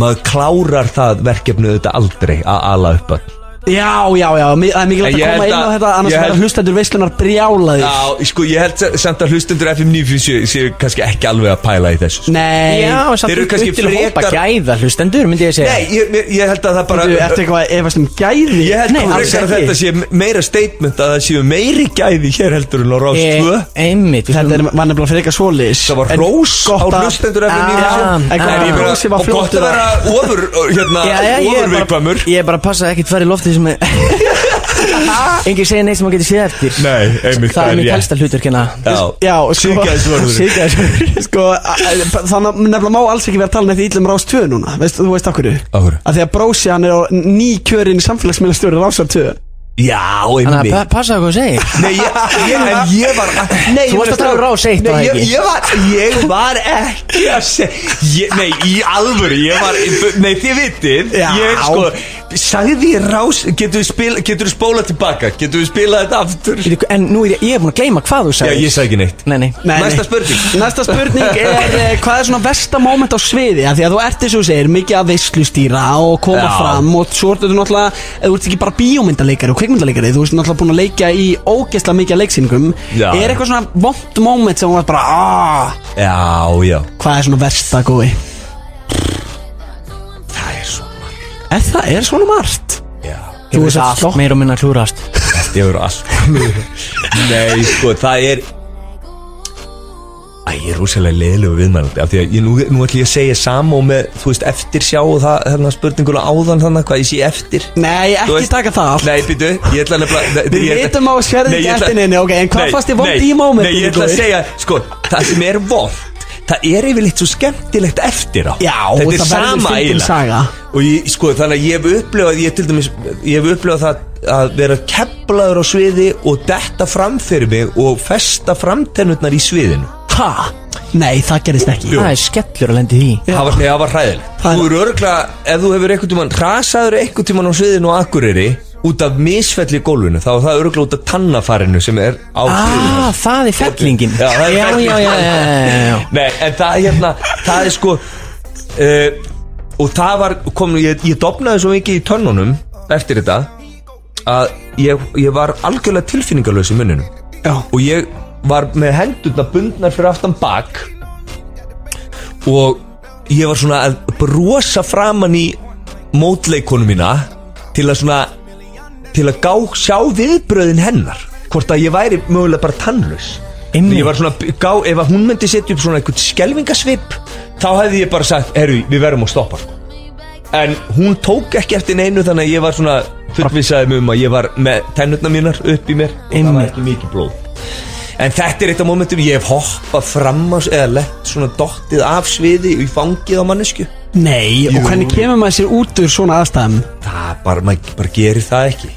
Maður klárar það verkefni auðvitað aldrei Að ala upp að Já, já, já, mi- það er mikilvægt En að ég koma held inn á að- þetta annars ég verða held- hlustendur veislunar brjálaðir Já, sko, ég held sa- samt að hlustundur FM 957 Séu kannski ekki alveg að pæla í þessu sko. Nei, Já, samt Þeir eru upp kannski upp til hópa frekar- gæða hlustendur myndi ég segja Nei, ég, ég- ég held að það bara þú ert eitthvað að efast um gæði Ég held Nei, að alls frekar að ekki. þetta sé meira statement að það séu meiri gæði hér heldur en á Rás 2 Eh, Ég- Eh, Einmitt við Þetta skulum- er mannefnilega frekar svoleiðis Það var rós á hlustendur eftir nýja Ah, En ah. hvað ég meina, rósi var og gott fljótur að vera ofur, hérna, Já, já, ég er bara- ofurviðkvæmur Ég er bara að passa að ekkert fara í loftið <laughs> sem Engin segir neitt sem maður getur séð eftir Nei, einmitt, Það er mitt helsta hérna. hlutur kynna Já, Síðgæðisvörður Síðgæðisvörður <laughs> Sko, a- a- þannig að nefnilega má alls ekki vera um að tala neitt íllum rás 2 núna veist, Þú veist af hverju? Af hverju? Að því að brósi hann er á nýkjörin samfélagsmiðlastjóri rásar 2 Já, Þannig einmitt að pa- passa hvað þú segir Nei, ég, ég, en ég var nei, Þú ég varst að tala um Rás eitt, Nei, var það ég, ekki? ég, var, ég var ekki að segja ég- Nei, í alvöru Ég var, nei, þið vitið Já. Ég, sko, sagði ég Rás Getur við, spil, getur við spólað tilbaka Getur við spilað þetta aftur Bíddu, En nú er ég, ég er búin að gleyma hvað þú Já, sagði ég sagði ekki neitt Nei, nei Nei, nei. Næsta spurning Næsta spurning er eh, hvað er svona versta moment á sviði af því að þú ert eins og þú segir mikið að veislustýra og koma Já. fram og svo ertu náttúrulega eða þú ert ekki bara bíómyndaleikari og kvikmyndaleikari þú ert náttúrulega búin að leika í ógeðslega mikið af leiksýningum Já. er eitthvað svona vond moment sem hún var bara aah, Já, já hvað er svona versta gói Það er svo margt er það, er svona margt Já Þú Þú veist ert allt flott. meira og minna klúrast Þetta hefur allt Nei, sko, það er Æ, ég er rosalega leiðilegu viðmælandi af því að ég, nú, nú ætlum ég að segja samó með, þú veist, eftir sjá og það, hérna spurninguna áðan þannig hvað ég sé eftir nei, Þú ekki taka það allt Nei, býtu, ég ætla nefnilega Við ég ætla- vitum á sverðin Nei, ég ætla- gættin inni, ok, en hvað Nei, fannst þér vont nei, í momentinu, Nei, ég ætla að Guði? segja, sko, það sem er vond Það er yfirleitt svo skemmtilegt eftir á Já, Þetta er það verður sama fyndin eiginlega. saga. Og ég, sko, þannig að ég hef upplifað Ég til dæmis, ég hef upplifað það Að vera keflaður á sviði Og detta fram fyrir mig Og festa framtennurnar í sviðinu ha, nei, það gerist ekki Það er skellur að lendi því Það var, nei, það var hræðilegt Það- Þú eru örgulega, ef þú hefur einhvern tímann Hrasaður einhvern tímann á sviðinu og akkurýri Út af misfelli í gólfinu Þá er það örgulega út af tannafarinu sem er á sviðinu Ah, það er fellingin Já, það er já, fellingin. já, já, já, já, já. Nei, en það hérna, það er sko uh, Og það var, kom, ég, ég dopnaði svo mikið í tönnunum Eftir þetta Að ég, ég var algjörlega tilfinningarlaus í munninum Já. Og ég var með hendurna bundnar fyrir aftan bak Og ég var svona að brosa framan í mótleikonu mína Til að svona, til að gá, sjá viðbröðin hennar Hvort að ég væri mögulega bara tannlaus Einmitt. Ég var svona, gá, ef að hún myndi setja upp svona eitthvað skelvingasvip Þá hefði ég bara sagt, herru, við verðum að stoppa sko. En hún tók ekki eftir neinu Þannig að ég var svona fullvissaði mig um að ég var með tennutna mínar upp í mér Og það var Einmitt. ekki mikið blóð En þetta er eitt af momentum ég hef hoppað fram á, eða lett svona dottið af sviði í fangið á mannesku nei, og hvernig kemur maður sér út úr svona aðstæðum Það bara, maður bara gerir það ekki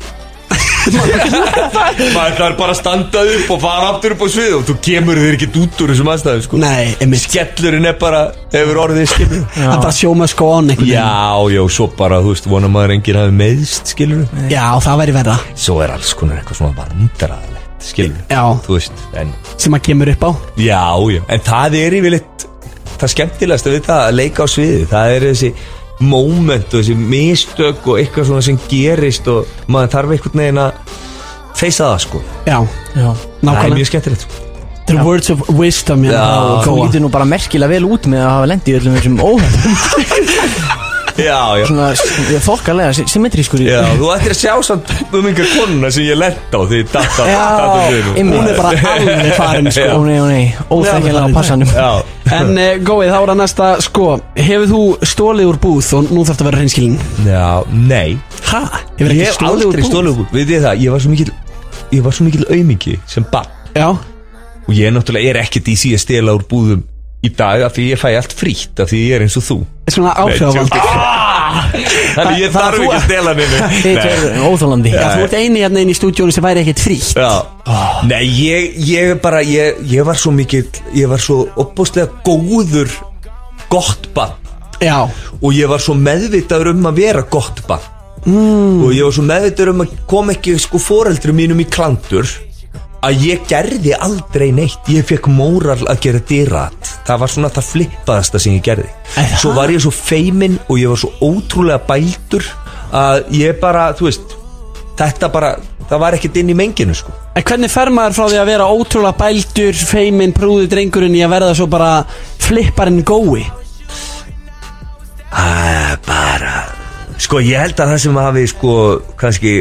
<laughs> Maður þarf bara að standa upp og fara aftur upp á svið og þú kemur þér ekki út úr þessum aðstæðum sko. nei, einmitt, Skellurinn er bara, hefur orðið skilur það er bara sjóma skón já. Já, já, svo bara, þú veist, vona maður enginn hafi meðst, skilur já, það væri verða Svo er alls konar eitthvað svona vandræðilegt, skilur Já. Þú veist, en, sem maður kemur upp á já, já, en það er yfirleitt Það skemmtilegast við það að leika á sviði Það er þessi moment og þessi mistök og eitthvað svona sem gerist og maður þarf einhvern veginn að feysa það, sko Já, já. Það er nákvæmlega mjög skemmtilegt, sko The words of wisdom já, Já, Þú góa. lítur nú bara merkilega vel út með að hafa lendi í öllum þessum <laughs> óhættum Já, já Svona s- þokkalega, sy- symmetrískur í Já, þú ættir að sjá samt um einhver konuna sem ég lent á því datt að já einmitt. Hún er <laughs> bara alveg farin Ó sko. nei, ó nei, óþekkilega á passanum Já, En uh, góið, þá er að næsta sko, Hefur þú stólið úr búð og nú þarf að vera reynskilin já, nei Hæ? Hefur Ég ekki hef stólið úr búð? aldrei stólið úr Við þið það, ég var svo mikil Ég var svo mikil aumingi sem barn Já, Og ég náttúrulega er ekkert í sí að stela úr búðum í dag af því ég fæ allt frítt af því ég er eins og þú Svona áhrifavald tjók. Þannig Það- það ég Ah! þarf þú- ekki að stela <laughs> neinu Þið er óþólandi Já, þú ert eini hérna inn í stúdíónu sem væri ekkert frítt Já. Nei, ég, ég bara ég, ég var svo mikill, ég var svo opbúslega góður gott bann Já, og ég var svo meðvitaður um að vera gott barn mm. og ég var svo meðvitaður um að kom ekki sko foreldri mínum í klandur að ég gerði aldrei neitt ég fekk móral að gera dýrat það var svona það flippaðasta sem ég gerði svo var ég svo feiminn og ég var svo ótrúlega bældur að ég bara, þú veist þetta bara, það var ekkert inn í menginu sko en hvernig fer maður frá því að vera ótrúlega bældur, feiminn, prúður drengurinn í að verða svo bara flipparinn gói? Æ, bara sko ég held að það sem hafi sko kannski,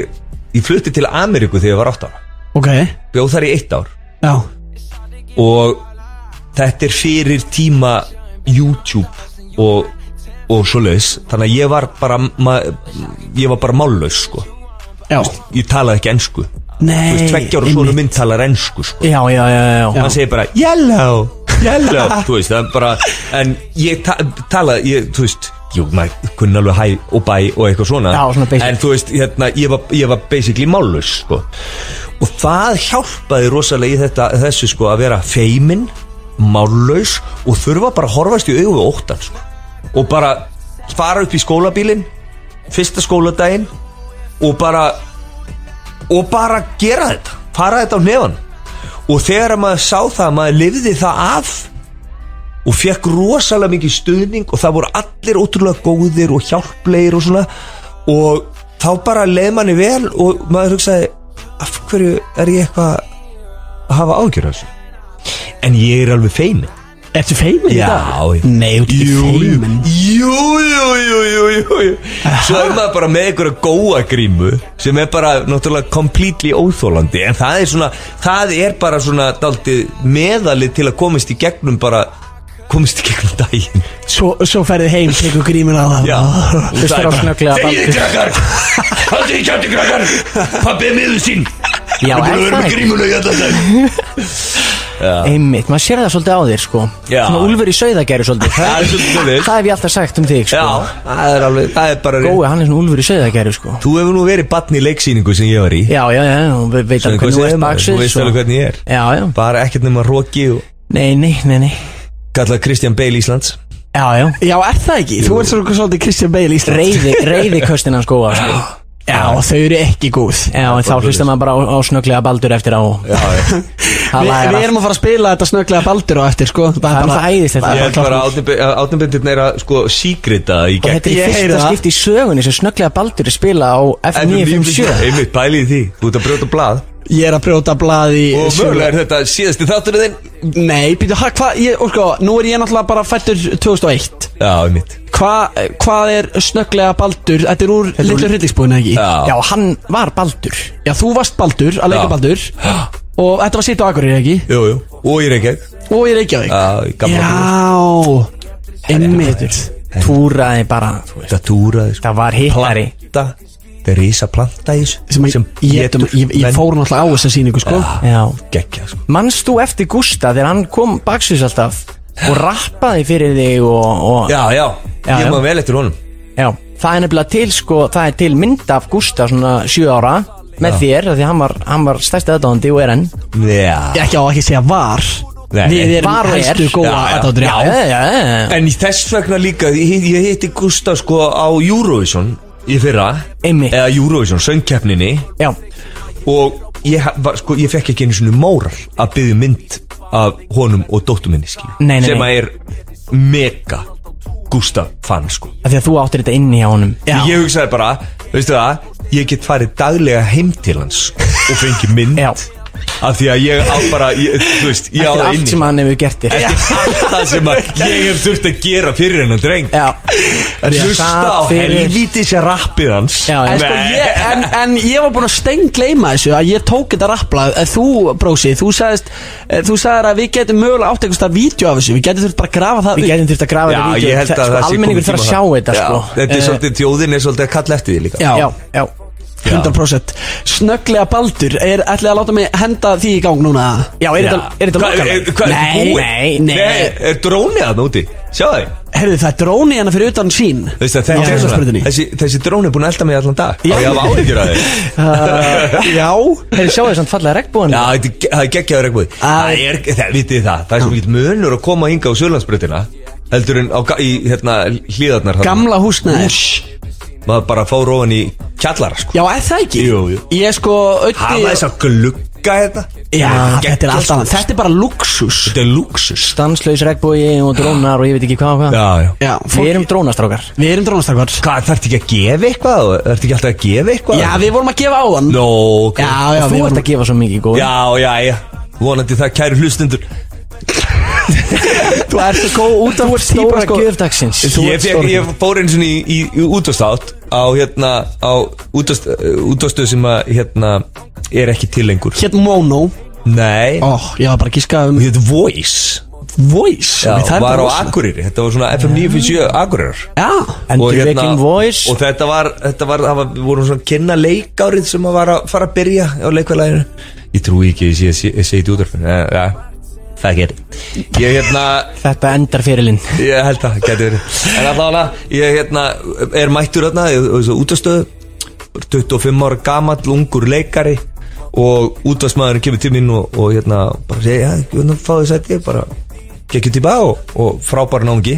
ég flutti til Ameríku þegar ég var 8 ára Ok, bjóð þar í eitt ár já, og þetta er fyrir tíma YouTube og, og svoleiðis þannig að ég var bara ma, ég var bara mállaus sko já ég talaði ekki ensku Nei, þú veist, tveggjára einmitt. svona minn talar ensku sko Já, já, já, já, já. hann segir bara yellow, yellow þú veist, það er bara en ég ta talaði, ég, þú veist jú, maður kunni alveg hæ og bæ og eitthvað svona Já, svona basic. en þú veist, hérna, ég var, ég var basically mállaus sko og það hjálpaði rosalega í þetta, þessu sko að vera feiminn, mállaus og þurfa bara að horfast í augu við óttan sko og bara fara upp í skólabílinn fyrsta skóladaginn og bara og bara gera þetta fara þetta á nefan og þegar að maður sá það maður lifði það af og fekk rosalega mikið stuðning og það voru allir ótrúlega góðir og hjálplegir og svona og þá bara leið manni vel og maður hugsaði af hverju er ég eitthvað að hafa ágjör þessu en ég er alveg feimin Ertu feiminn í Já, dag? ég- Nei, þú ert ekki feiminn Jú, jú, jú, jú, jú, jú. Svo er maður bara með einhverja góa grímu sem er bara náttúrulega completely óþólandi en það er svona, það er bara svona daldið meðalið til að komast í gegnum bara, komast í gegnum daginn Svo, svo ferðið heim, tekur grímin á það <laughs> Já, Hlustar á snögglega Þegiði krakkar, haldið í kjátti krakkar Pappið er miður sín Já, Við búin að er vera það með ekki? grímuna í allan dag <laughs> Einmitt, maður sér það svolítið á þér, sko Já. Svona úlfur í sauðagæri svolítið Það er svolítið svoleiðis. Það hef ég alltaf sagt um þig, sko Já, það er alveg, það er bara rétt. Gói, hann er svona úlfur í sauðagæri, sko Þú hefur nú verið batn í leiksýningu sem ég var í Já, já, já, hún ve- veit alveg hvernig þú ert sko. Þú baksvið veist alveg hvernig ég er Já, já, Bara ekkert nema Roki og nei, nei, nei, nei kallað Kristján Bale Íslands Já, já, Já, er það ekki? Þú ert svona svolítið Kristján Bale í Ísland reyði, reyði köstin hans góa, sko Já, þau eru ekki góð Já, en þá hlustar maður bara á, á snögglega baldur eftir á Já, Það Vi, Við læra erum að fara að spila þetta snögglega baldur á eftir, sko Það er það æðislegt Ég held bara að átnabindin er að sko síkrita í Og gegn þetta er Ég í heyri fyrsta það. skipti í sögunni sem snögglega baldur er spila á F957 um Einmitt pælið í því, þú ert að brjóta blað Ég er að brjóta blað í Og mögulega er þetta síðasti þáttur þinn Nei, býtu, ha, hvað, ég, og sko, nú er ég náttúrulega bara fættur 2001 Já, einmitt Hva, Hvað er snögglega baldur? Þetta er úr litlu hryllingsbúinu, ekki? Já, hann var baldur Já, þú varst baldur, að leika Já. baldur Og þetta var sitt á Akureyri, ekki? Jú, jú, og ég er ekki Já, Og ég reykja þig í gamla Já, einmitt Túraði bara, þú veist Þetta túraði sko Það var hittari Planta Þetta er rísa planta í þessu Sem, sem ég, ég, ég, ég fór náttúrulega á þessa sýningu, sko Já Gekja sko Manst þú eftir Gústa þegar hann kom baksins alltaf Og rappaði fyrir þig og, og Já, já, Já, ég já. maður vel eftir honum Já, það er nefnilega til sko, það er til mynd af Gústa svona 7 ára með þér, af því hann var, hann var stærsti aðdáðandi og er enn Já Ekki á að ekki segja var Nei, Við nei. erum Var og er. hæstu góða Já, já. aðdáttur, já, já, já, já. En í þess vegna líka, ég, ég hitti Gustaf sko á Eurovision í fyrra Einmitt. Eða Eurovision, söngkeppninni já. Og ég, ha- var, sko, ég fekk ekki einu svona móral að byggja mynd af honum og dóttur minni skil Nei, nei, Sem nei. að er mega Gustaf fann sko Af því að þú áttir þetta inni hjá honum Já. Ég hugsaði bara, veistu það, ég get farið daglega heim til hans og <laughs> fengi mynd Já. Af því að ég á bara, ég, þú veist, ég á Þetta er það allt inni sem hann hefur gert þér Allt það sem <laughs> að ég hef þurft að gera fyrir hennan dreng Já, að hlusta á Sat fyrir- helvítis rappið hans Já, já. En, sko, Nei. ég, en, en ég var búinn að steingleima þessu að ég tók þetta rapplað að þú brósi, þú sagðist eh, þú sagðir að við getum mögulega átt einhversta vídeo af þessu, við getum þurft bara að grafa það við getum þurft að grafa Já, þetta vídeo. ég held að sko, það sé Almenningur kominn þarf að tími á það. Já, Þetta sjá þetta sko er svolítið, þjóðin Eh, er svolítið að kalla eftir því líka Já. Já, já 100% Snögglega Baldur, er ætlið að láta mig henda því í gang núna? eh, Já, er þetta- er þetta Hvað, er- eh, lokalag? hvað, er þetta Nei, búið? nei, nei Er drónið þarna úti? Sjá það Herðu það er dróni hérna fyrir utan <laughs> sín Veist að þetta Já, er svona spurningi. Þessi, þessi drónið er búin að elda mig allan dag Já, ég hafa áhyggjur að þið uh, Já Þeir sjáu þessan fallega regnbúin Já, þetta er- það er geggjaður regnbúð Það er, það, vitið þið það Það er svo mikið munur að koma hinga á Sjölandsbreytina Heldur en á, ga- í hérna, hlíðarnar þarna. Gamla húsnæði Maður bara fór ofan í kjallara sko Já, er það ekki? Jú, jú. Ég sko, Hafa ötti þess að glugga þetta Já, þetta er geggjað, allt sko. annað Þetta er bara luxus Þetta er luxus Stanslaus regnbúi og drónar og ég veit ekki hvað og hvað Já, já Já, Við fólk, erum drónastrákar við erum drónastakvar Hvað, þarftu ekki að gefa eitthvað? Þarftu ekki alltaf að gefa eitthvað? Já, við vorum að gefa á hann Nó, ok Já, já, Þú við ert vorum að gefa svo mikið góð já, já, já. Vonandi það kæru hlustundur Þú ert að góð út af hvort Stóra gjöf dagsins Ég, fekk, ég fór eins og í, í, í útastátt á, hérna, á útastöð sem að, hérna, er ekki til lengur Hétt Mono Nei, Ó, ég var bara að gíska um hún hétt Voice Voice Já, ok, það er var bara á rosa. Akureyri, þetta var svona FM 957 Akureyrar Já, Endur vekking voice hérna- Og þetta var, þetta var, það var, við vorum svona að kynna leikárið sem að var að fara að byrja á leikvælæðinu Ég trúi ekki, að ég sé ég segi þetta í útvarfinu, já, já, það gerir Ég hérna, Þetta endar fyrirlinn Ég held að, getur verið En allavega, ég hérna, er mættur hérna, útastöðu 25 ára gamall, ungur leikari og útvarsmaðurinn kemur til mín og, og hérna, bara segja, já, hérna, fáðu sætti bara, gekk út í bá og, og frábær náungi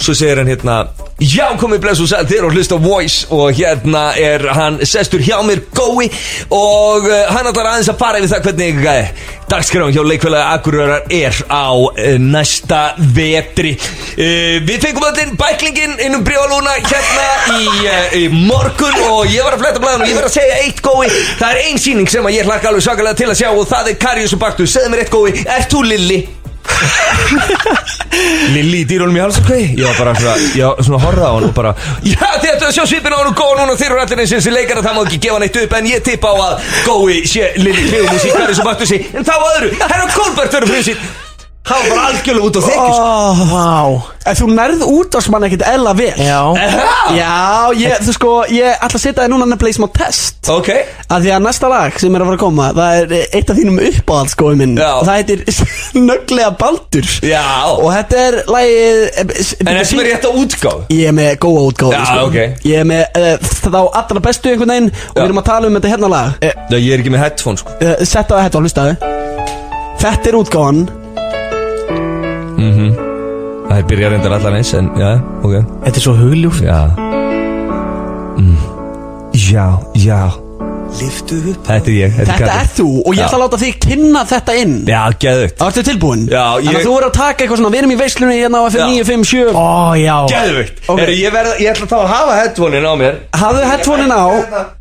svo segir hann hérna, já, komið blessu sættir og hlusta á Voice og hérna er hann sestur hjá mér gói og uh, hann ætlar aðeins að fara yfir það hvernig uh, dagskráin hjá leikfélagi Akureyrar er á uh, næsta vetri uh, við fengum allir bæklingin innum brjáluna um hérna í, uh, í morgun og ég var að fletta blæðan og ég var að segja eitt gói það er ein síning sem að ég hlakka alveg svakalega til að sjá og það er Karius og Baktus, segðu mér eitt gói ert þú Lilli? Lilli í dýrólum í halsakvei Ég var bara svona, ég var svona að horfa á hann og bara Já þið ættu að sjá svipin á hann og góða núna Þeir eru allir eins og þessi leikara það má ekki gefa neitt upp En ég tippa á að gói sé Lilli Klefumús í hverju sem baktu sig En þá að öðru, herra Kolbert verður fyrir sín Það var bara algjörlega út á þekki sko. oh, Vá En þú nærð út af sem hann ekkert eðla vel Já Aha! Já, ég, þú sko, ég ætla að setja þig núna nefnilega í smá test Ok, að Því að næsta lag sem er að fara að koma Það er eitt af þínum uppáhalds, góði minn Já. Og Það heitir <laughs> Snögglega Baldur já Og þetta er lagið En þessum er rétt á útgáð Ég er með góða útgáðu Já, sko. ok. Ég er með uh, þá allra bestu einhvern veginn Og Já. við erum að tala um þetta hérna lag uh, Já ég er ekki með headphone sko uh, Setta það hérna og hlustaðu Þetta er útgáðan Það byrjar reyndar allan eins en já, ok Þetta er svo hugljúft Já mm. Já, já Liftu upp Þetta er ég Þetta Katrín. er þú og ég Já. ætla að láta þig kynna þetta inn Já, geðvögt Það ertu tilbúin Já, ég- Þannig að þú verður að taka eitthvað svona Við erum í veislunni hérna á Já. FM 957 Ó já Geðvögt Ok. okay. ég, verð- ég ætla þá að hafa headphonein á mér Hafðu headphonein á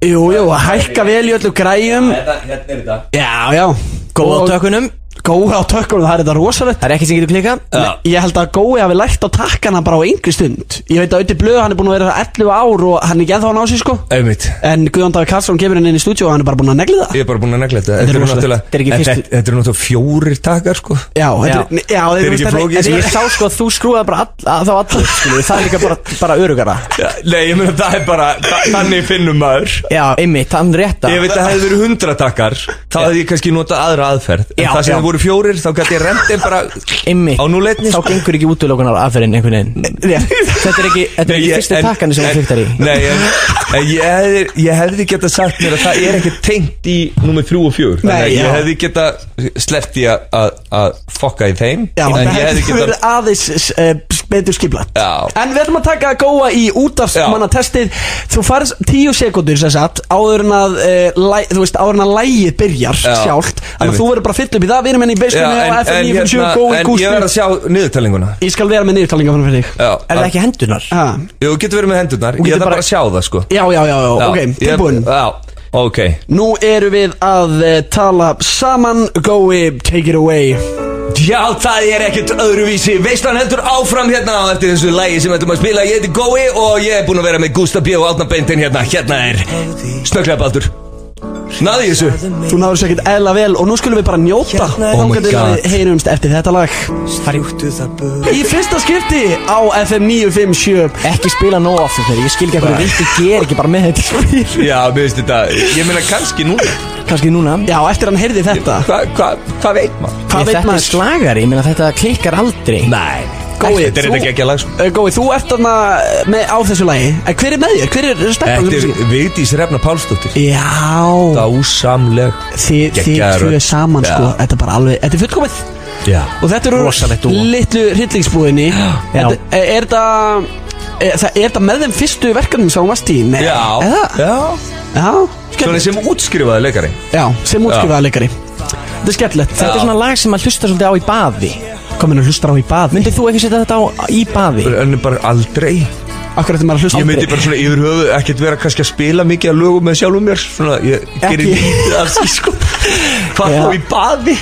Jú, jú, hækka vel í öllu græjum Þetta, hérna er þetta Já, já Góð á Og- tökunum Góða á tökkunum, það er þetta rosalegt Það er ekkert sem getur klikað Já. Ég held að Gói hafi lært á takkana bara á yngri stund Ég veit að Ötti Blöð hann er búin að vera 11 ár og hann er ekki ennþá að ná sig sko Einmitt En Guðjón Davík Karlsson kemur inn inn í stúdíu og hann er bara búin að negli það Ég er bara búinn að negla þetta Þetta er eru rosalegt. náttúrulega- Þetta er ekki en fyrstu- Þetta þetta eru náttúrulega fjórir takar sko Já, þetta er- já Þetta er ekki þetta- flókið, þetta Ég er- sá sko að þú skrúðaði bara all, að, þá allir skilu Það er líka bara, bara örugara Já, Nei, ég meina það er bara þa- Þannig finnum maður Já, einmitt, þann rétta Ég veit að það hefði verið hundra takkar Þá hefði ég kannski notað aðra aðferð En Já, það sem já. það voru fjórir Þá gæti ég rendið bara Einmitt Á núleitni sko. Þá gengur ekki útulókunar aðferðin einhvern veginn <laughs> Þetta er ekki, þetta er Nei, ekki ég- fyrstu en- takkanu sem en- þú flyktar í Nei, en, en ég, hefði, ég hefði geta sagt mér að það er ekki tengt í nummer 3 og 4 Þannig að Nei, ég já. hefði geta sleppt í að- að að fokka í þeim Já, En þetta ég hefði hefði geta verið aðeins uh, betur skiplat Já. En við ætlum að taka góa í útafsmanna testið Þú farið tíu sekundur sem sagt áður en að uh, læ, þú veist, áður en að lægið byrjar Já. sjálft Þannig að Einmitt. þú verður bara fyll upp í það Við erum enn í Já, beislunni en, og FM en, hérna- 957 gói en ég verð að gústi sjá niðurtalinguna Ég skal vera með niðurtalinga fyrir þig Já, Er það ekki hendunar? ha. Jú, getur verið með hendurnar, ég getur ætla bara- bara að sjá það sko Já, já, já, já, Já, ok, ég- tilbúin Já, ok Nú eru við að uh, tala saman Gói, take it away Já, það er ekkert öðruvísi Veislan heldur áfram hérna á eftir þessu lægi sem ætlum að spila Ég heiti Gói og ég er búinn að vera með Gústa B. og Átna Beintin hérna Hérna er Snögglega Baldur Naði ég þessu Þú náður sér ekkert eðla vel og nú skulum við bara njóta er- Oh Þangað my til að God. við heyrumst eftir þetta lag Í fyrsta skipti á FM 957 Ekki spila nóg oft þegar ég skil ekki að hverju vildi ger ekki bara með þetta spil Já, mér finnst þetta Ég meina kannski núna Kannski núna Já, eftir hann heyrði þetta Hvað hva, hva veit maður? Ég, Hvað veit Þetta er maður? slagari, ég meina þetta klikkar aldrei Nei Gói, Þetta er þú- þetta ekki ekki að lag sko. Uh, Gói, þú ert þarna uh, með á þessu lagi En hver er með þér? Hver er stefnan? Þetta er Vigdís Refna Pálsdóttir Já, Dásamleg þið, þið Geggjaður tvö rödd. saman Já. sko Þetta er bara alveg, þetta er fullkomið Já Og þetta Rosalegt eru dúo. litlu hryllingsbúðinni Þetta- Er er þetta er það- er þetta með þeim fyrstu verkefnum sem hún varst í? Nei. Já, Eða? já. Já, Svona skemmtilegt sem útskrifaði leikari Já, sem útskrifaða leikari Þetta er skemmtilegt Þetta Þetta er svona lag sem maður hlusta svolítið á í baði er komin að hlusta á í bað Myndir þú ekki setja þetta á í baði? En bara aldrei Akkur eftir maður að hlusta Ég myndi bara svona yfir höfu ekkert vera kannski að spila mikið að lögum með sjálfum mér Svona, ég gerir Ekki. lítið af því sko Hvað þá í baði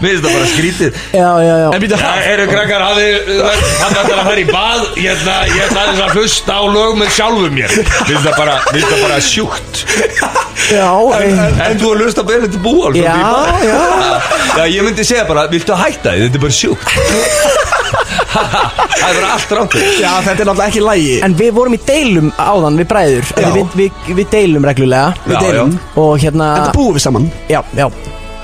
Mér finnst það bara skrítið Já, já, já En býta Já, það eru krakkar, hafði, hann ætlar að fara í bað Ég ætla, ég ætla aðeins að hlusta á lög með sjálfum mér Finnst það bara, finnst það bara sjúkt Já, En, en, en þú að löst að vera þetta búa Já, já Já, ég myndi segja bara, viltu að hætta því, þetta er bara <laughs> sjúkt Það er bara allt rátt Já, þetta er náttúrulega ekki lægi En við vorum í deilum áðan við bræður Já. við, við, við deilum reglulega Já, Við deilum já. Og hérna Þetta búum við saman Já, já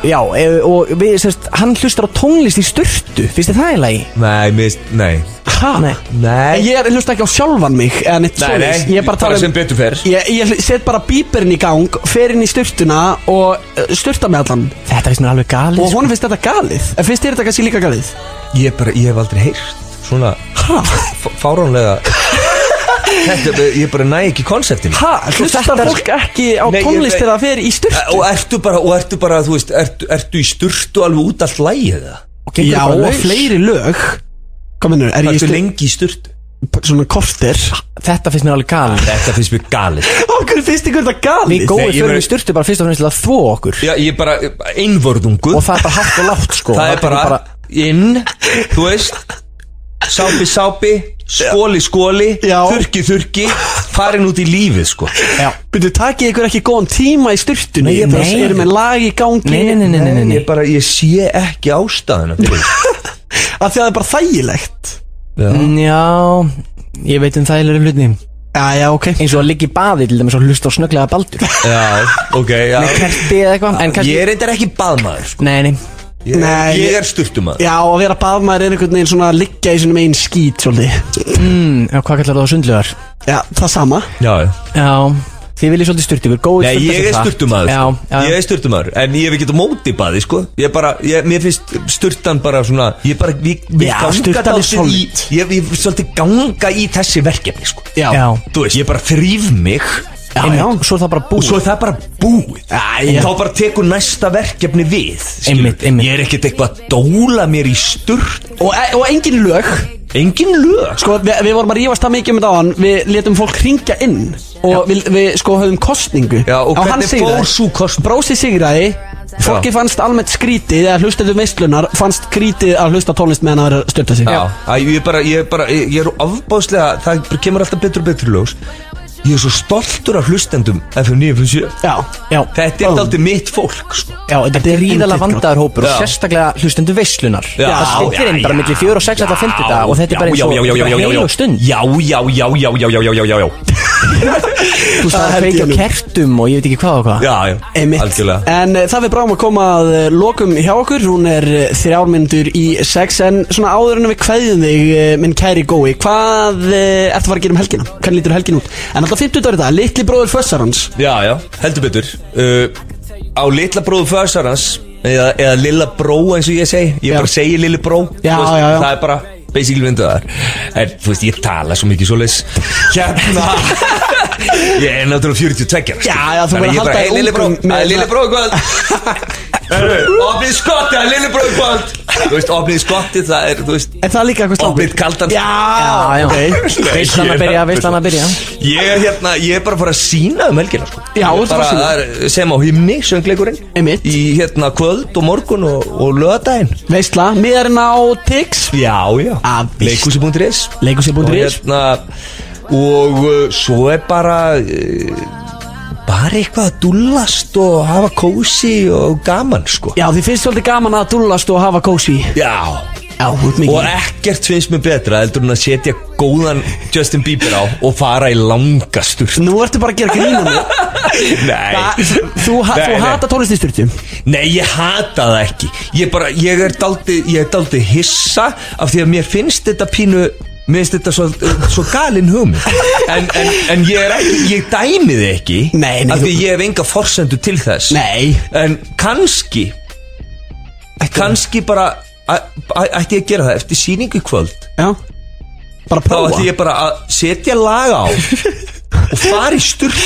Já, e- og við, sérst, hann hlustar á tónlist í styrtu Finnst þið það í lagi? Nei, mist, nei Hæ? Nei En Nei, Ég er hlusta ekki á sjálfan mig eða neitt nei, svoleiðis. Ég er bara að tala sem um betur fer Ég, ég set bara bíperinn í gang, fer inn í styrtuna og uh, styrta með allan Þetta finnst mér alveg galið Og sko. honum finnst þetta galið En finnst þér þetta kannski líka galið? Ég bara, ég hef aldrei heyrt svona f- fáránlega Þetta, er- ég bara næ ekki konseptinu Ha, hlustar fólk ekki á Nei, ég- tónlist þegar það fer í styrtu? Og ertu bara, og ertu bara, þú veist, ertu, ertu í sturtu alveg út allt lægið það? Já, bara og laus. fleiri lög Hvað minnur, er ég Ertu styr, lengi í sturtu? svona <laughs> kortir? Þetta finnst mér alveg galið Þetta finnst mér galið Okkur finnst ykkur þetta Við galið? góðum Nei, ég fyrir meina- við styrtu bara fyrst og fremst til að þvó okkur Já, ég bara, einvörðungu Og það er bara hátt og lágt sko Það er bara, inn, þú veist Sápi, sápi, skóli, skóli Já. Þurki, þurki Farin út í lífið, sko Byrju, takið ykkur ekki góðan tíma í styrtunni Nei, ég bara- Þess erum með lag í gangi Nei, nei, nei, nei, nei, nei. Ég bara, ég sé ekki ástæðuna fyrir þessu. Af því að það er bara þægilegt Mm, Já, ég veit um þægilegri hluti Já, já, ok Eins og að ligga í baði til dæmis og hlusta á snögglega baldur Já, ok, já Kerti eða eitthvað En kannski Ég er reyndar ekki baðmaður, sko Nei, nei Ég, Nei, ég ég- er sturtumaður Já, að vera baðmaður er einhvern veginn svona að liggja í sinum einn skít svolítið mm, já, Hvað kallar það á sundlegar? Já, það sama Já, já Já Þið viljið svolítið styrtu Við erum góðir Nei, ég er sturtumaður Já, sko. já Ég er sturtumaður En ég hef ekki á móti baði, sko Ég bara, ég, mér finnst sturtan bara svona Ég bara, við, við Já, sturtan er í solid. Ég vil svolítið ganga í þessi verkefni, sko Já, Já, Þú veist, ég bara þrýf mig já, Svo er það bara Og búið svo er það bara búið Æ, já. Og þá bara tekur næsta verkefni við skilur. Einmitt, einmitt. Ég er ekkert eitthvað að dóla mér í sturt Og, og engin lög Engin lög Sko, við, við vorum að rífast það mikið um þetta á hann Við letum fólk ringja inn Og við, við sko höfum kostningu Já, Á og hann hvernig sigraði. fór sú kosning? Brósi sigraði Fólki fannst almennt skrítið að hlusta til veistlunar Fannst skrítið að hlusta á tónlist meðan að vera að styrta sig Já, Æ, ég er bara, ég er bara, ég ég er ofbáslega, það bara kemur alltaf betur og betur í ljós Ég er svo stoltur af hlustendum FM 957 Já. Já, Þetta er alltaf mitt fólk, sko já, þetta er gríðalega einmitt vandaður hópur Já. og sérstaklega hlustendu veislunar Já, Það skiptir inn já, bara já, milli fjögur og sex alltaf fymti dag og þetta er bara eins já, og já, já, já, já, já, já. heil og stund Já, já, já, já, já, já, já, já, já, já <laughs> Þú veist Það það er held ég feikja nú. kertum og ég veit ekki hvað og hvað um- Já, já, Einmitt. algjörlega En uh, það við bráum að koma að uh, lokum hjá okkur Hún er uh, þrjármyndur í sex En svona áður en við kveðjum þig uh, Minn kæri gói Hvað uh, ertu að fara að gera um helgina? Hvernig lítur helgin út? En alltaf 50 dagur þetta Litli bróður fössarans Já, já, heldur betur uh, Á litla bróðu föðsarans eða, eða lilla bró eins og ég segi Ég Já. bara segi lilla bró Já, þú veist, já, já. Það er bara basically vindu þar En þú veist, ég tala svo mikið svoleiðis <laughs> Hérna Ég er náttúrulega 42 ára, skilur. Já, já, þú Þannig verður að ég halda bara, "Hey, þér Lilli bró, ungum með að Lilli hérna." bró í kvöld <laughs> Herru, Opnið skottið að Lilli bró í kvöld Þú veist, opnið skottið, það er, þú veist Er það líka eitthvað slátt? Opnið kaldan Já, Já, já. ok Veislan að byrja, veislan að byrja Ég er hérna, ég er bara að fara að sína um helgina sko. Já, þú Ég ert að er fara að bara, sýna. það er sem á himni, söngleikurinn Einmitt. Í hérna kvöld og morgun og, og lögadaginn Veistla, miðarinn á Tix Já, já Ah, víst. Leikhúsi.is Leikhúsi.is. Og hérna, og uh, svo er bara uh, bara eitthvað að dúllast og hafa kósi og gaman sko Já, þið finnst svolítið gaman að dúllast og hafa kósi Já, Já, þú ert og mikið ekkert finnst mér betra heldur en að setja góðan Justin Bieber á og fara í langa <laughs> sturt Nú ertu bara að gera grínum <laughs> Nei, Þú, ha Nei, þú nei. hata tónlist í styrtu Nei, ég hata það ekki Ég, bara, ég er daldið daldi hissa af því að mér finnst þetta pínu Mér finnst þetta svo, svo galin hugmynd en, en, en ég er ekki, ég dæmi þið ekki Nei, nei, Af því þú- ég hef enga forsendu til þess Nei. En kannski Kannski bara a- a- ætti ég að gera það eftir sýningu í kvöld Já Bara Þá prófa ætti ég bara að setja lag <laughs> á Og fara í styrk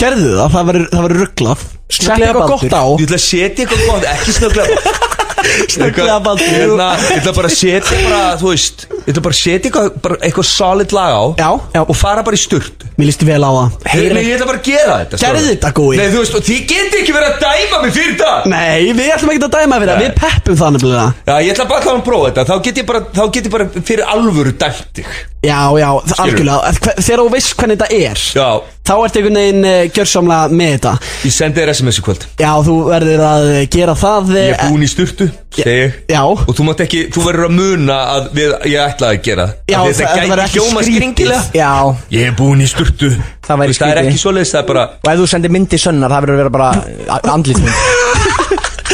Gerðu það, það verður- það verður rugglað Sett Snögglega eitthvað baldur. gott á Ég ætla að setja eitthvað gott, ekki snögglega Snögglega baldur. Ég ætla- ég ætla bara að setja bara, þú veist Ég ætla bara að setja eitthvað, bara eitthvað solid lag á Já, já. Og fara bara í sturt Mér líst vel á það Heyri, ég ætla bara að gera þetta Gerðu strákar. þetta, gói. Nei, þú veist, og þið geti ekki verið að dæma mig fyrir það Nei, við ætlum ekki að dæma fyrir það Nei. Við peppum það nefnilega Já, ég ætla bara að hann prófa þetta Þá get ég bara, þá get ég bara fyrir alvöru dæmt þig Já, já, það- algjörlega Hve- Þegar þú veist hvernig þetta er Já, Þá ertu einhvern veginn uh, gjörsamlega með þetta ég sendi þér SMS í kvöld Já, þú verður að eh, gera það eh, Ég er búin í sturtu, segi ég Já, Og þú mátt ekki, þú verður að muna að við, ég ætlaði að gera já Af því þetta verður gæti ekki hljóma skrítið. skringilega Já, Ég er búin í sturtu Það væri Þú veist, Það er skrítið. ekki svoleiðis, það er bara og ef þú sendir myndi sönnar það verður að vera bara andlið minn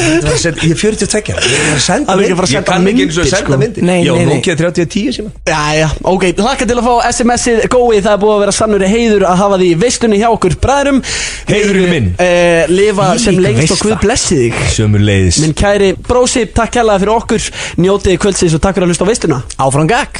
Það er sent- Ég er 42 ára, Ég er að senda Alveg ekki að fara að senda mynd Ég kann ekki myndir, eins og að sko. senda myndi Nei, Ég á nei, nei. Nokia 3010 síma Já, já, ok, hlakka til að fá SMS-ið gói, það er búið að vera sannur heiður að hafa því í veistunni hjá okkur bræðrum Heiðurinn minn. uh, Lifa Þvílík sem lengst og veisla. Guð blessi þig Sömur leiðis Minn kæri brósi, takk kærlega fyrir okkur Njótið kvöldsins og takk fyrir að hlusta á veistuna Áfram gag